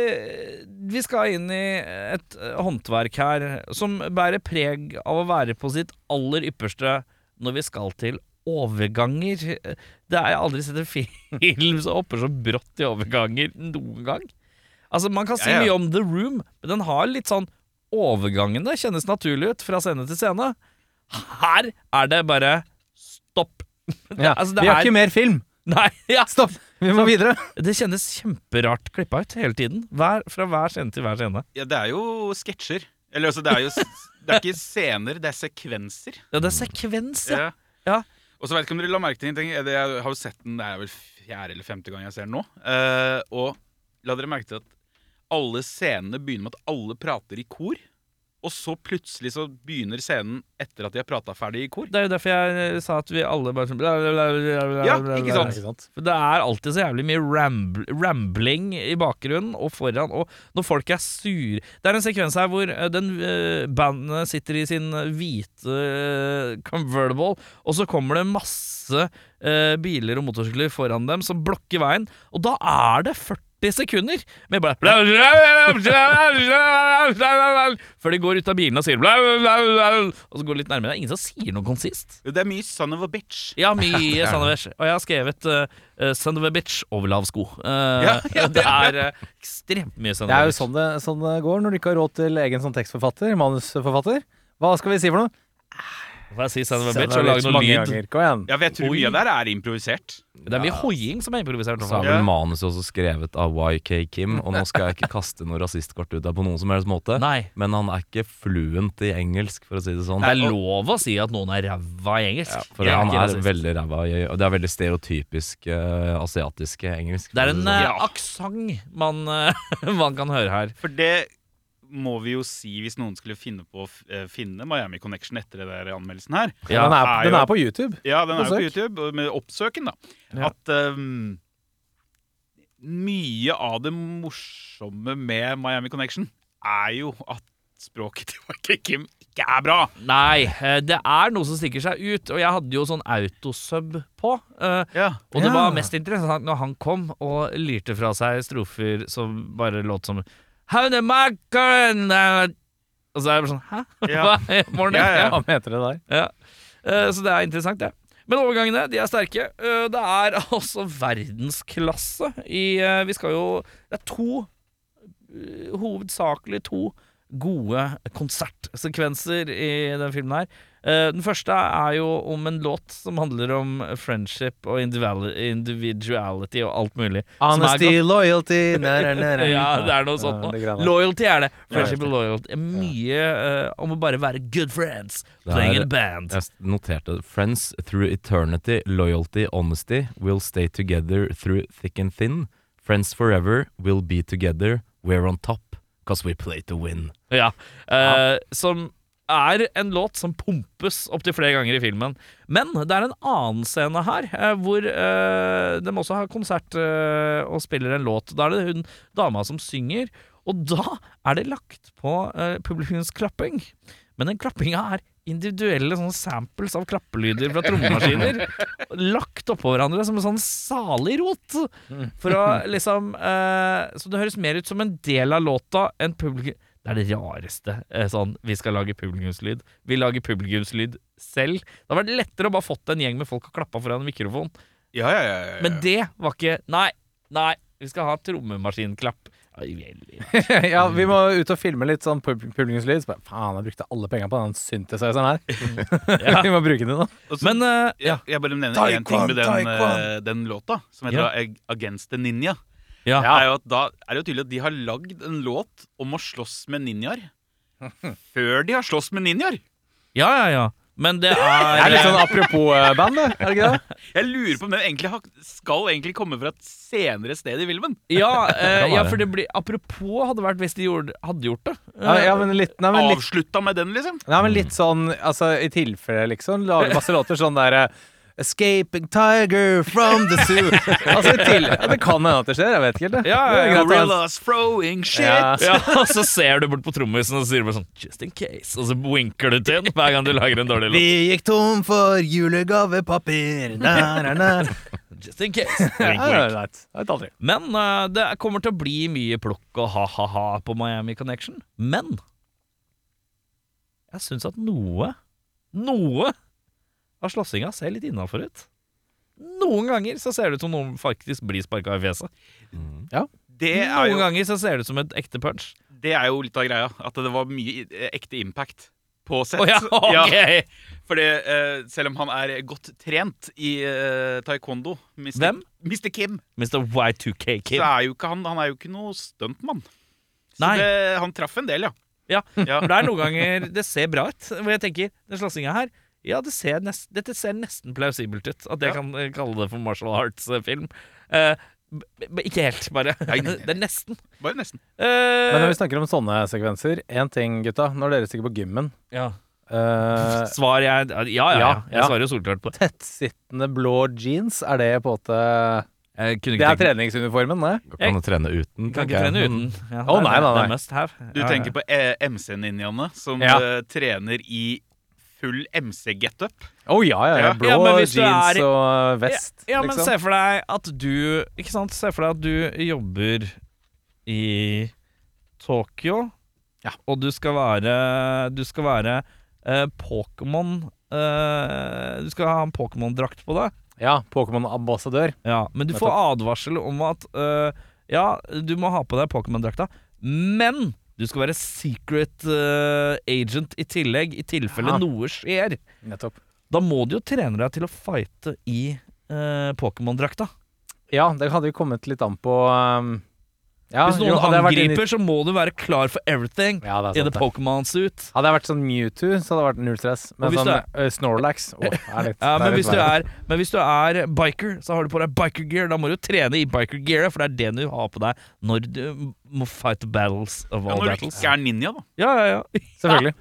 Speaker 1: vi skal inn i et eh, håndverk her som bærer preg av å være på sitt aller ypperste når vi skal til overganger. Det er Jeg har aldri sett en film som hopper så brått i overganger noen gang. Altså Man kan si
Speaker 5: Ja, ja.
Speaker 1: mye om The Room, men den har litt sånn Overgangene kjennes naturlig ut fra scene til scene. Her er det bare stopp. *laughs*
Speaker 3: Ja.
Speaker 1: altså, det
Speaker 3: Vi har
Speaker 1: er-
Speaker 3: ikke mer film!
Speaker 1: Nei, ja,
Speaker 3: Stopp! Vi må videre.
Speaker 1: det kjennes kjemperart klippa ut hele tiden. Hver, fra hver scene til hver scene.
Speaker 5: Ja, det er jo sketsjer. Eller altså, det er jo s- Det er ikke scener, det er sekvenser.
Speaker 1: Ja, det er sekvens, ja.
Speaker 5: Mm. Ja.
Speaker 1: Ja.
Speaker 5: Og så vet ikke om dere la merke til en ting. Jeg har jo sett den det er vel fjerde eller femte gang jeg ser den nå. Eh, og la dere merke til at alle scenene begynner med at alle prater i kor. Og så plutselig så begynner scenen etter at de har prata ferdig i kor.
Speaker 1: Det er jo derfor jeg eh, sa at vi alle bare sånn bla, bla, bla, bla, bla,
Speaker 5: Ja,
Speaker 1: bla, bla.
Speaker 5: ikke sant?
Speaker 1: For det er alltid så jævlig mye rambl rambling i bakgrunnen og foran, og når folk er sure Det er en sekvens her hvor eh, den eh, bandet sitter i sin hvite eh, convertible, og så kommer det masse eh, biler og motorsykler foran dem som blokker veien, og da er det 40 sekunder med bare bla, bla, bla, bla, bla, bla, bla, bla, Før de går ut av bilen og sier bla, bla, bla, bla, bla, Og så går de litt nærmere. Det er ingen som sier noe konsist.
Speaker 5: Det er mye 'son of a bitch'.
Speaker 1: Ja, *laughs* mye Sandovers. Og jeg har skrevet uh, Bitch over lav sko. Eh,
Speaker 5: Ja, ja,
Speaker 1: *laughs* det er eh, ekstremt mye
Speaker 3: Det er jo
Speaker 1: Sandovers.
Speaker 3: sånn det, sånn det går når du ikke har råd til egen sånn tekstforfatter, manusforfatter. Hør Hva skal vi si for noe?
Speaker 1: Får jeg si Son of a
Speaker 3: Send
Speaker 1: Bitch og
Speaker 3: deg
Speaker 1: lage
Speaker 3: ut
Speaker 1: noe
Speaker 3: mange
Speaker 1: lyd?
Speaker 3: ganger. Kom igjen.
Speaker 5: Ja, for jeg tror mye av det her er improvisert.
Speaker 1: Det er mye hoiing som er improvisert. i hvert
Speaker 4: Så
Speaker 1: fall.
Speaker 4: er vel manuset også skrevet av YK Kim, og nå skal jeg ikke kaste noe rasistkort ut der på noen som helst måte,
Speaker 1: Nei.
Speaker 4: men han er ikke fluent i engelsk, for å si det sånn.
Speaker 1: Det er lov å si at noen er ræva i engelsk.
Speaker 4: For
Speaker 1: Jeg er
Speaker 4: han
Speaker 1: ikke
Speaker 4: er
Speaker 1: rasist.
Speaker 4: veldig ræva i Og det er veldig stereotypisk eh, asiatisk engelsk.
Speaker 1: det er en uh,
Speaker 5: Ja.
Speaker 1: aksent man, eh, *laughs* man kan høre her.
Speaker 5: For det må vi jo si hvis noen skulle finne på å f- eh, finne Miami Connection etter det der anmeldelsen her.
Speaker 3: Ja, den, er,
Speaker 5: er
Speaker 3: den
Speaker 5: jo-
Speaker 3: er på YouTube.
Speaker 5: Ja, den er jo på
Speaker 3: Oppsøk.
Speaker 5: YouTube, og med oppsøken, da.
Speaker 3: Ja.
Speaker 5: At ehm, mye av det morsomme med Miami Connection er jo at språket til Michael Kim ikke er bra.
Speaker 1: Nei, eh, det er noe som stikker seg ut. Og jeg hadde jo sånn autosub på. eh,
Speaker 5: Ja.
Speaker 1: Og det
Speaker 3: Ja.
Speaker 1: var mest interessant når han kom og lyrte fra seg strofer som bare låt som How the macaron Og så er jeg bare sånn Hæ? Hva
Speaker 5: Ja.
Speaker 1: er morgenen?
Speaker 5: Ja, ja.
Speaker 3: Hva heter det der?
Speaker 1: Ja. Eh, Så det er interessant, det. Men overgangene de er sterke. Eh, Det er *laughs* altså verdensklasse i eh, Vi skal jo Det er to eh, Hovedsakelig to gode konsertsekvenser i den filmen her. Eh, Den første er jo om en låt som handler om friendship og individual- individuality og alt mulig. Som er
Speaker 3: Honesty,
Speaker 1: godt.
Speaker 3: loyalty nære, nære.
Speaker 1: Ja, det er noe sånt
Speaker 3: Ja,
Speaker 1: nå.
Speaker 3: det greiene.
Speaker 1: Loyalty er det. Friendship og loyalty. er Mye eh, om å bare være good friends.
Speaker 4: Det
Speaker 1: Playing
Speaker 4: er-
Speaker 1: in a band.
Speaker 4: Jeg s- noterte det. Friends through eternity, loyalty, honesty will stay together through thick and thin. Friends forever will be together. We're on top, cause we play to win.
Speaker 1: Ja. eh, Som er en låt som pumpes opptil flere ganger i filmen. Men det er en annen scene her eh, hvor eh, de også har konsert eh, og spiller en låt. Da er det hun dama som synger, og da er det lagt på eh, publikums klapping. Men den klappinga er individuelle sånne samples av klappelyder fra trommemaskiner lagt oppå hverandre som en sånn salig rot. For å *laughs* liksom eh, Så det høres mer ut som en del av låta enn publikum Det er det rareste eh, sånn Vi skal lage publikumslyd. Vi lager publikumslyd selv. Det hadde vært lettere å bare fått en gjeng med folk og klappa foran en mikrofon.
Speaker 5: Ja, ja, ja, ja, ja.
Speaker 1: Men det var ikke Nei, nei. Vi skal ha trommemaskinklapp. Ai, veldig.
Speaker 3: *laughs* ja, vi må ut og filme litt sånn pub- publikumslyd. Så bare, Faen, jeg brukte alle penga på den synthesizeren her. *laughs*
Speaker 1: Ja.
Speaker 3: vi må bruke den, da.
Speaker 5: Og så-
Speaker 1: Men eh,
Speaker 5: ja. Jeg bare nevner én
Speaker 3: Taekwon,
Speaker 5: ting med den,
Speaker 3: taekwon.
Speaker 5: eh, den låta, som heter
Speaker 1: Ja.
Speaker 5: Ag- Against the Ninja.
Speaker 1: Ja.
Speaker 5: Det Er jo at da er det jo tydelig at de har lagd en låt om å slåss med ninjaer.
Speaker 1: *laughs*
Speaker 5: Før de har slåss med ninjaer!
Speaker 1: Ja, ja, ja. Men det
Speaker 3: Det er
Speaker 1: er
Speaker 3: litt sånn apropos-band, det. Er det ikke det?
Speaker 5: Jeg lurer på om den egentlig har, skal egentlig komme fra et senere sted i filmen.
Speaker 1: Ja, eh,
Speaker 4: Kan
Speaker 1: ja
Speaker 4: være.
Speaker 1: for det blir Apropos hadde vært hvis de gjorde, hadde gjort det.
Speaker 3: Ja, ja, men litt, nei, men litt,
Speaker 5: Avslutta med den, liksom.
Speaker 3: nei, men litt sånn altså, i tilfelle, liksom. Lage masse låter sånn derre Escaping tiger from the zoo. Altså, i til, ja, det kan hende at det skjer, jeg vet ikke helt. Det.
Speaker 1: Ja,
Speaker 3: Det er greit, altså.
Speaker 5: Gorillas throwing shit!
Speaker 3: Ja.
Speaker 1: Ja, *laughs* og så ser du bort på trommisen og så sier du bare sånn Just in case. Og så winker du til den hver gang du lager en dårlig
Speaker 3: Vi
Speaker 1: låt.
Speaker 3: gikk tom for julegavepapir. Næ, næ, næ.
Speaker 1: Just
Speaker 5: *laughs*
Speaker 1: in case.
Speaker 3: Ja,
Speaker 1: Wink,
Speaker 3: det
Speaker 1: wink.
Speaker 3: er greit. Det er aldri.
Speaker 1: Men eh, det kommer til å bli mye plukk og ha-ha-ha på Miami Connection. Men jeg syns at noe, noe av slåssinga ser litt innafor ut. Noen ganger så ser det ut som noen faktisk blir sparka i fjeset.
Speaker 5: Det, er
Speaker 1: Noen
Speaker 5: jo,
Speaker 1: ganger så ser det ut som et ekte
Speaker 5: *laughs*
Speaker 1: punch.
Speaker 5: det er jo litt av greia. At det var mye i- eh, ekte impact på sett.
Speaker 1: Å
Speaker 5: *laughs*
Speaker 1: ja, ok!
Speaker 5: fordi eh, selv om han er godt trent i eh, taekwondo Mr.
Speaker 1: Hvem?
Speaker 5: Mr. Kim,
Speaker 1: Mr. Y2K Kid.
Speaker 5: Så er jo ikke han, han er jo ikke noe stuntmann. Så
Speaker 1: Nei.
Speaker 5: det, han traff en del, ja.
Speaker 1: Ja, *laughs*
Speaker 5: Ja.
Speaker 1: for det er noen ganger det ser bra ut. Hvor jeg tenker, den slåssinga her Ja, det ser nest, dette ser nesten plausibelt ut. At jeg
Speaker 5: Ja.
Speaker 1: kan eh, kalle det for martial arts-film. Eh, b- b- ikke helt, bare.
Speaker 5: Nei, nei, nei.
Speaker 1: *laughs* Det er nesten.
Speaker 5: Bare nesten.
Speaker 1: Eh,
Speaker 3: Men når vi snakker om sånne sekvenser, én ting, gutta. Når dere stikker på gymmen
Speaker 1: ja.
Speaker 3: eh,
Speaker 1: Svar jeg Ja, ja, ja.
Speaker 3: ja,
Speaker 1: Jeg
Speaker 3: ja.
Speaker 1: svarer jo solklart på det.
Speaker 3: Tettsittende blå jeans, er det på en måte
Speaker 1: Jeg kunne ikke
Speaker 3: Det er
Speaker 1: tenke-
Speaker 3: treningsuniformen, det?
Speaker 4: Kan du trene
Speaker 1: kan
Speaker 4: uten? tenker
Speaker 1: ikke
Speaker 4: jeg.
Speaker 1: trene uten. Ja,
Speaker 3: Å,
Speaker 1: det
Speaker 3: nei,
Speaker 1: er-
Speaker 3: nei, nei.
Speaker 1: Det er must have.
Speaker 5: Du tenker på eh, MC-ninjaene som
Speaker 3: Ja.
Speaker 5: eh, trener i full MC-getup.
Speaker 3: Å ja, ja, ja.
Speaker 5: Ja.
Speaker 3: Blå
Speaker 1: Ja, men hvis du er-
Speaker 3: jeans og vest,
Speaker 1: Ja, ja men
Speaker 3: liksom.
Speaker 1: se for deg at du Ikke sant, se for deg at du jobber i Tokyo Og du skal være Du skal være eh, Pokémon eh, Du skal ha en Pokémon-drakt på deg
Speaker 3: Ja, Pokémon-ambassadør.
Speaker 1: ja, Men du får advarsel om at eh, Ja, du må ha på deg Pokémon-drakta Men du skal være secret eh, agent i tillegg I tilfelle
Speaker 3: Ja.
Speaker 1: noe skjer
Speaker 3: Nettopp.
Speaker 1: Da må du jo trene deg til å fighte i eh, Pokémon-drakta
Speaker 3: Ja, det hadde jo kommet litt an på um, ja,
Speaker 1: Hvis noen
Speaker 3: jo, hadde jeg vært inni-
Speaker 1: angriper, så må du være klar for everything
Speaker 3: ja, det
Speaker 1: i the
Speaker 3: er sant, det.
Speaker 1: Pokémon suit.
Speaker 3: Hadde jeg vært sånn Mewtwo, så hadde det vært null stress.
Speaker 1: Og
Speaker 3: Men
Speaker 1: hvis
Speaker 3: sånn
Speaker 1: du
Speaker 3: eh, Snorlax Å, det
Speaker 1: Ja,
Speaker 3: er litt, det
Speaker 1: men,
Speaker 3: er litt
Speaker 1: hvis du
Speaker 3: verre.
Speaker 1: er, men hvis du er biker, så har du på deg biker-gear. Da må du trene i biker-gearet, for det er det du har på deg når du må fight battles of
Speaker 5: Ja,
Speaker 1: all
Speaker 5: når du
Speaker 1: battles.
Speaker 5: ikke er ninja, da.
Speaker 1: Ja, ja, ja.
Speaker 3: Selvfølgelig.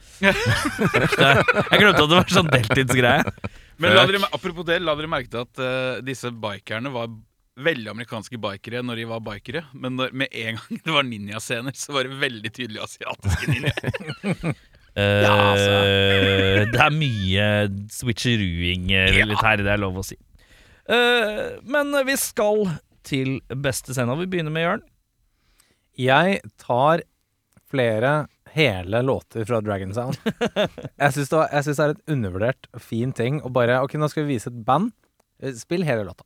Speaker 1: *laughs* Jeg glemte at det var sånn deltidsgreie.
Speaker 5: Men la dere, apropos det, la dere merke til at eh, disse bikerne var veldig amerikanske bikere når de var bikere. Men når, med en gang *laughs* det var ninjascener, så var det veldig tydelig asiatiske
Speaker 1: *laughs*
Speaker 5: ninjaer.
Speaker 1: Eh,
Speaker 3: altså.
Speaker 1: det er mye switcheruing eh, litt her, det er lov å si. Eh, men vi skal til beste scenen. og Vi begynner med Jørn.
Speaker 3: Jeg tar flere hele låter fra Dragon
Speaker 4: *laughs*
Speaker 3: Sound. Jeg syns det, var- jeg syns det er et undervurdert og fin ting å bare Ok, nå skal vi vise et band. Eh, Spill hele låta.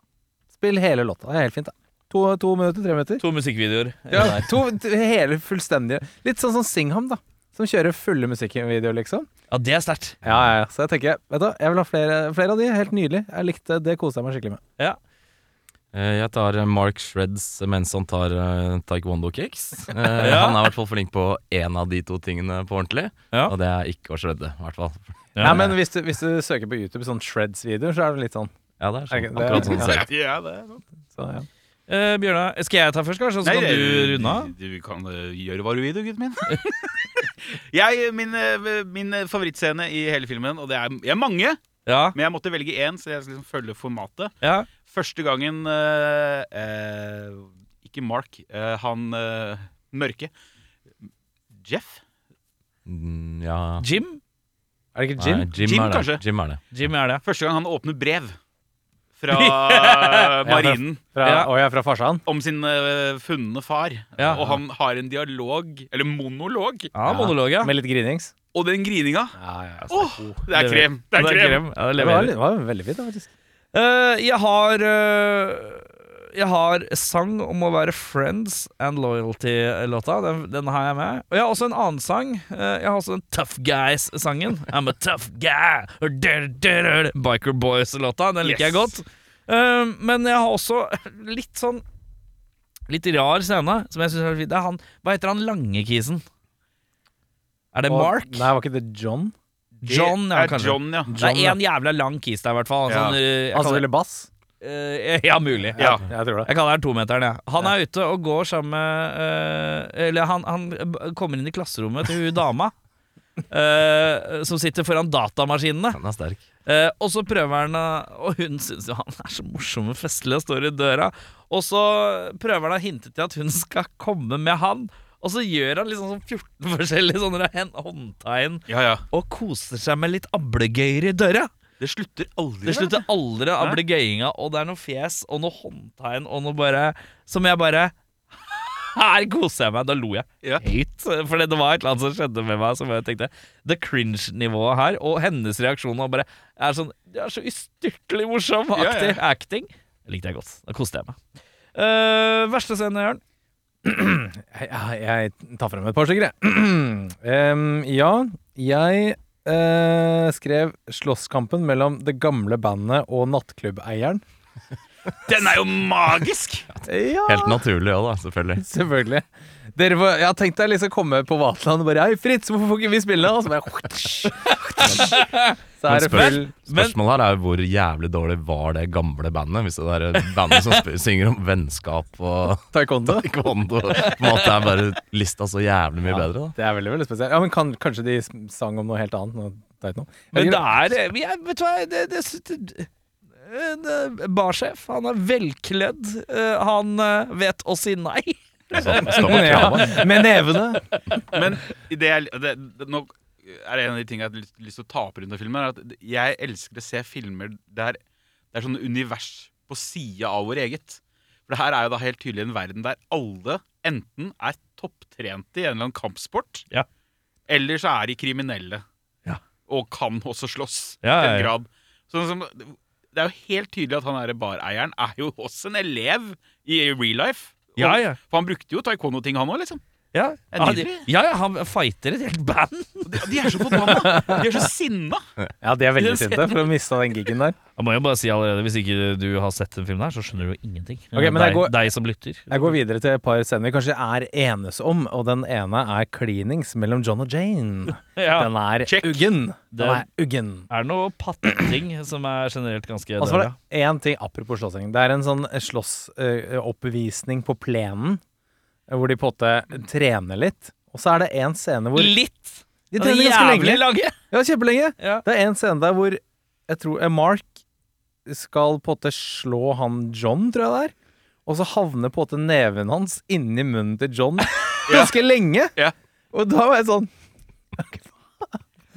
Speaker 3: Spill hele låta. Det er helt fint, det. To, to minutter, tre minutter.
Speaker 1: To musikkvideoer.
Speaker 3: Ja, to, t- hele fullstendige Litt sånn som Singham, da. som kjører fulle musikkvideoer, liksom.
Speaker 1: Ja, det er sterkt.
Speaker 3: Ja, ja, ja. Så jeg tenker, vet du, hva, jeg vil ha flere, flere av de. Helt nydelig. Jeg likte Det koste jeg meg skikkelig med.
Speaker 4: Eh, Jeg tar eh, Mark Shreds mens han tar eh, Taekwondo kicks. Eh,
Speaker 1: *laughs* Ja.
Speaker 4: Han er i hvert fall flink på én av de to tingene på ordentlig,
Speaker 1: Ja.
Speaker 4: og det er ikke å shredde. i hvert fall.
Speaker 3: Nei, men hvis du, hvis du søker på YouTube sånn Shreds-videoer, så er det litt sånn.
Speaker 4: Ja, det er sånn,
Speaker 3: Er ikke det-
Speaker 4: akkurat sånn det ser ut.
Speaker 5: Ja, det er sant.
Speaker 3: Så, ja.
Speaker 1: Eh, Bjørnar, skal jeg ta først, kanskje? Så kan du runde av?
Speaker 5: Du kan eh, gjøre hva du vil, du, gutten min. *laughs* jeg, min, eh, min favorittscene i hele filmen, og det er, jeg er mange,
Speaker 1: Ja.
Speaker 5: men jeg måtte velge én, så jeg skal liksom følge formatet.
Speaker 1: ja.
Speaker 5: Første gangen eh, eh, Ikke Mark, eh, han eh, mørke. Jeff?
Speaker 4: Mm, Ja.
Speaker 1: Jim?
Speaker 3: Er det ikke
Speaker 4: Nei,
Speaker 3: Jim?
Speaker 4: Jim,
Speaker 5: Jim,
Speaker 4: er det.
Speaker 5: kanskje?
Speaker 4: Jim er det.
Speaker 1: Jim er det.
Speaker 5: Første gang han åpner brev *laughs* fra marinen
Speaker 3: Fra,
Speaker 1: Ja.
Speaker 3: Å ja, fra farsan?
Speaker 5: om sin eh, funne far.
Speaker 1: Ja.
Speaker 5: Og han har en dialog, eller monolog,
Speaker 1: Ja, monolog, ja.
Speaker 3: Med litt grinings?
Speaker 5: og den grininga
Speaker 3: Ja, ja, ja.
Speaker 5: Åh, altså, oh, det er krem! Det er krem.
Speaker 1: Ja, det
Speaker 3: Det var,
Speaker 1: leverer.
Speaker 3: det var veldig fint, da, faktisk.
Speaker 1: Eh, jeg har eh, Jeg har sang om å være Friends and Loyalty-låta. Den, den har jeg med. Og jeg har også en annen sang. Eh, jeg har også den Tough Guys-sangen. I'm a tough guy. Biker Boys-låta. Den liker jeg
Speaker 5: Yes.
Speaker 1: godt. Eh, men jeg har også litt sånn Litt rar scene som jeg syns er fint. Det er han Hva heter han langekisen? Er det
Speaker 3: Og-
Speaker 1: Mark?
Speaker 3: Nei, var ikke det John?
Speaker 1: John,
Speaker 5: Det
Speaker 1: ja,
Speaker 5: er
Speaker 1: kanskje.
Speaker 5: John, ja.
Speaker 1: det er én jævla lang kis der, i hvert fall.
Speaker 5: Ja.
Speaker 1: Sånn, eh, jeg
Speaker 3: Han som
Speaker 1: kaller-
Speaker 3: spiller bass?
Speaker 1: eh, *laughs* ja, mulig.
Speaker 5: Ja.
Speaker 3: Altså, Jeg tror det.
Speaker 1: Jeg kaller han tometeren, jeg. Han er ute og går sammen med eh, Eller han, han b- kommer inn i klasserommet til hun
Speaker 4: *laughs*
Speaker 1: dama. eh, som sitter foran datamaskinene.
Speaker 4: Han er sterk.
Speaker 1: Eh, og så prøver han å- Og hun syns jo han er så morsom og festlig og står i døra. Og så prøver han å hinte til at hun skal komme med han. Og så gjør han liksom sånn 14 forskjellige sånne hen- håndtegn
Speaker 5: ja, ja.
Speaker 1: og koser seg med litt ablegøyer i døra.
Speaker 5: Det slutter aldri.
Speaker 1: Det slutter aldri å
Speaker 5: Nei.
Speaker 1: bli gøyinga, og det er noe fjes og noe håndtegn og noe bare Som jeg bare Her koser jeg meg! Da lo jeg
Speaker 5: Ja.
Speaker 1: høyt. For det var et eller annet som skjedde med meg som jeg tenkte The cringe-nivået her, og hennes reaksjon var bare er sånn Du er så ustyrtelig morsom!
Speaker 5: Ja, ja.
Speaker 1: Aktiv acting. Det likte jeg godt. Da koste jeg meg. Eh, verste scenen, Jørn?
Speaker 3: Jeg, jeg, jeg *clears throat* tar frem et par stykker, jeg. um, ja, jeg eh, skrev slåsskampen mellom det gamle bandet og nattklubbeieren.
Speaker 5: Den er jo magisk!
Speaker 3: *laughs* Ja,
Speaker 4: Helt naturlig òg, da, selvfølgelig.
Speaker 3: selvfølgelig. Dere får, jeg tenkte jeg liksom komme på Vaterland og bare Hei, Fritz, hvorfor får ikke vi spille? Og så bare *laughs* Så er det full
Speaker 1: Men-
Speaker 4: Spørsmålet her er jo hvor jævlig dårlig var det gamle bandet? Hvis det der bandet som sp- *laughs* synger om vennskap og *laughs*
Speaker 3: taekwondo.
Speaker 4: taekwondo på en måte er bare lista så jævlig mye bedre, da.
Speaker 3: Det er veldig veldig spesielt. Ja, men kan, Kanskje de sang om noe helt annet? Noe, teit noe.
Speaker 1: Men det er vi er- Vet du hva det, det, det, det, Barsjef, han er velkledd. Eh, Han eh, vet å si nei.
Speaker 4: Stopp- stopp
Speaker 1: *laughs*
Speaker 4: å klage.
Speaker 3: ja, Med nevene.
Speaker 5: Men det er, det, det, nå er det en av de tingene jeg har lyst, lyst til å ta opp rundt den filmen. Er at jeg elsker å se filmer der det er sånne univers på sida av vår eget. For det her er jo da helt tydelig en verden der alle enten er topptrente i en eller annen kampsport,
Speaker 1: Ja.
Speaker 5: eller så er de kriminelle.
Speaker 1: Ja.
Speaker 5: Og kan også slåss
Speaker 1: Ja, ja,
Speaker 5: til
Speaker 1: ja.
Speaker 5: en grad. Sånn som, det er jo helt tydelig at han derre bareieren er jo også en elev i real life.
Speaker 1: Ja, ja.
Speaker 5: For han brukte jo taekwondo-ting, han òg, liksom.
Speaker 1: Ja,
Speaker 5: Er
Speaker 1: han,
Speaker 5: nydelig.
Speaker 1: ja, ja, han fighter et helt band.
Speaker 5: De, de er så forbanna! De er så sinna!
Speaker 3: Ja, de er veldig sinte for å miste den gigen der.
Speaker 1: Jeg må jo bare si allerede Hvis ikke du har sett den filmen, her så skjønner du jo ingenting.
Speaker 3: Ok, men jeg
Speaker 1: deg,
Speaker 3: går-
Speaker 1: deg som lytter.
Speaker 3: Jeg går videre til et par scener vi kanskje er enes om, og den ene er cleanings mellom John og Jane.
Speaker 1: *laughs* Ja.
Speaker 3: Den er
Speaker 5: Check.
Speaker 3: uggen. Den
Speaker 1: Den-
Speaker 3: er uggen.
Speaker 1: Er det noe patting som er generelt ganske
Speaker 3: Og så var
Speaker 1: dårlig?
Speaker 3: Altså, det én ting apropos slåssing. Det er en sånn slåssoppvisning på plenen, eh, hvor de på en måte trener litt. Og så er det én scene hvor
Speaker 1: Litt!
Speaker 3: De
Speaker 1: Det er
Speaker 3: trener ganske
Speaker 1: jævlig
Speaker 3: lenge.
Speaker 1: lange!
Speaker 3: Ja, kjempelenge.
Speaker 1: Ja.
Speaker 3: Det er en scene der hvor jeg tror eh, Mark skal på en måte slå han John, tror jeg det er. Og så havner på en måte neven hans inni munnen til John ganske lenge.
Speaker 5: *laughs* Ja.
Speaker 3: Og da var jeg sånn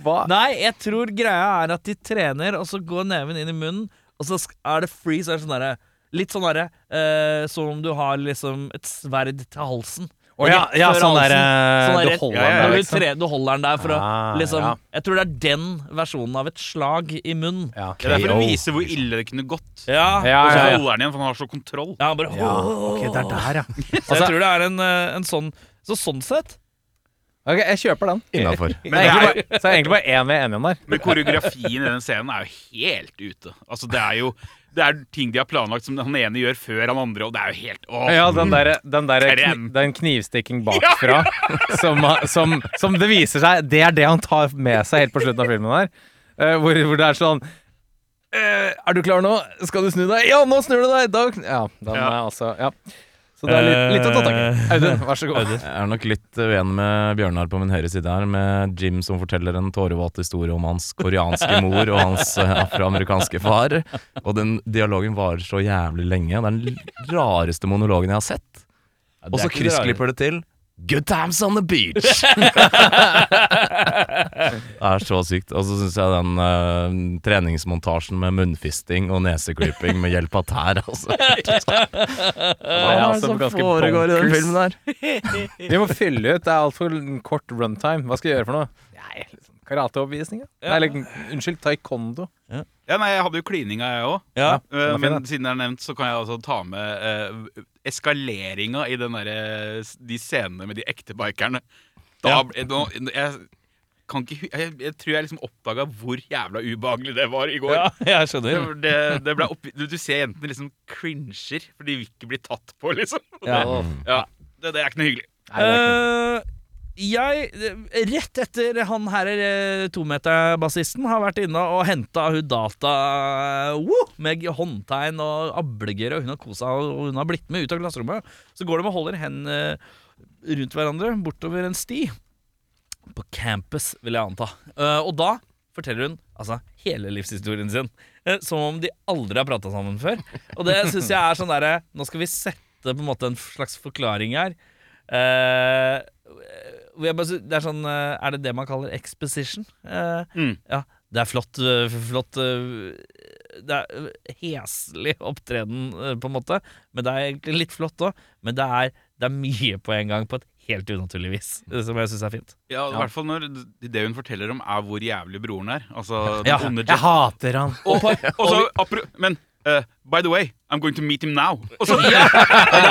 Speaker 3: Hva?
Speaker 1: Nei, jeg tror greia er at de trener, og så går neven inn i munnen, og så sk- er det free, så er det sånn derre Litt sånn derre eh, Som om du har liksom et sverd til halsen.
Speaker 3: Å ja, ja,
Speaker 1: Rett før
Speaker 3: sånn der,
Speaker 1: halsen.
Speaker 3: eh,
Speaker 1: Sånn
Speaker 3: du holder
Speaker 5: ja, ja,
Speaker 3: den der,
Speaker 1: Når du,
Speaker 3: liksom.
Speaker 1: tre, du holder den der for
Speaker 3: Ah,
Speaker 1: å liksom
Speaker 3: ja.
Speaker 1: Jeg tror det er den versjonen av et slag i munnen.
Speaker 3: Ja.
Speaker 5: Det er for å
Speaker 4: KO.
Speaker 5: vise hvor ille det kunne gått.
Speaker 1: Ja,
Speaker 3: oh. Ja,
Speaker 5: Og så
Speaker 3: ja, ja.
Speaker 5: holder han igjen, for han har så kontroll.
Speaker 1: ja bare
Speaker 3: ja. Ok, det er der, ja.
Speaker 1: Så jeg
Speaker 3: Altså-
Speaker 1: tror det er en, eh, en sånn Så sånn sett
Speaker 3: Ok, jeg kjøper den.
Speaker 6: innafor.
Speaker 3: Men det er egentlig bare, så er det egentlig bare én vi er enige om der.
Speaker 5: Men koreografien i den scenen er jo helt ute. Altså Det er jo Det er ting de har planlagt som han ene gjør før han andre, og det er jo helt åh.
Speaker 3: Ja, den derre den der kni,
Speaker 5: Krem.
Speaker 3: den knivstikking bakfra *laughs* som, som, som det viser seg Det er det han tar med seg helt på slutten av filmen her. Eh, hvor, hvor det er sånn eh, Er du klar nå? Skal du snu deg? Ja, nå snur du deg! Da, kn- ja, den
Speaker 5: Ja.
Speaker 3: er altså Ja. Så det er litt, litt å ta tak i.
Speaker 1: Eh,
Speaker 3: Audun, vær så god.
Speaker 4: Jeg er nok litt eh, uenig med Bjørnar på min høyre side her, med Jim som forteller en tårevåt historie om hans
Speaker 1: *laughs*
Speaker 4: koreanske mor og hans eh, afroamerikanske far. Og den dialogen varer så jævlig lenge. Det er den rareste monologen jeg har sett. Og så kryssklipper det til Good times on the
Speaker 1: *laughs*
Speaker 4: beach! det er så sykt. Og så syns jeg den eh, treningsmontasjen med munnfisting og neseklyping med hjelp av tær,
Speaker 1: *laughs*
Speaker 4: altså. Hva
Speaker 3: er
Speaker 4: er
Speaker 3: altså
Speaker 4: det som
Speaker 3: ganske
Speaker 4: foregår i den
Speaker 3: bonkers.
Speaker 4: filmen der?
Speaker 3: Vi må fylle ut. Det er altfor kort runtime. Hva skal jeg gjøre for noe? Nei,
Speaker 4: sånn
Speaker 3: liksom Karateoppvisning? Ja. Nei, eller unnskyld, taekwondo.
Speaker 5: Ja, nei, Jeg hadde jo klininga, jeg òg.
Speaker 1: Ja.
Speaker 3: var fin,
Speaker 5: men
Speaker 3: den.
Speaker 5: siden det er nevnt, så kan jeg altså ta med eh, eskaleringa i den derre- de scenene med de ekte bikerne. Da ble- nå- jeg, kan ikke, hu- jeg, jeg tror jeg liksom oppdaga hvor jævla ubehagelig det var i går.
Speaker 1: *laughs* Ja, jeg skjønner.
Speaker 5: Det, det ble opp, du, du ser jentene liksom cringer, for de vil ikke bli tatt på, liksom.
Speaker 1: *laughs* Ja.
Speaker 5: Ja, det, det er ikke noe hyggelig.
Speaker 1: Eh, jeg, eh, rett etter han her eh, tometerbassisten har vært inne og henta hun data eh, woo, med håndtegn og ablegøy, og hun har kosa og hun har blitt med ut av klasserommet. Så går de og holder hendene rundt hverandre bortover en sti. På campus, vil jeg anta. Eh, og da forteller hun altså, hele livshistorien sin. eh, som om de aldri har prata sammen før. Og det syns jeg er sånn derre Nå skal vi sette på en måte en slags forklaring her. Eh, hvor jeg bare, sy- det er sånn eh, Er det det man kaller exposition? Eh,
Speaker 5: Mm.
Speaker 1: Ja. Det er flott, eh, flott eh, Det er eh, heslig opptreden, eh, på en måte. Men det er egentlig litt flott òg. Men det er, det er mye på en gang, på et helt unaturlig vis, eh, som jeg syns er fint.
Speaker 5: Ja, i hvert fall når det hun forteller om, er hvor jævlig broren er. Altså, den
Speaker 1: Ja,
Speaker 5: onde
Speaker 3: Jeg
Speaker 5: Jack.
Speaker 3: hater han.
Speaker 5: Og, og så, apro- men eh, by the way, I'm going to meet him now. Og så,
Speaker 1: Det er,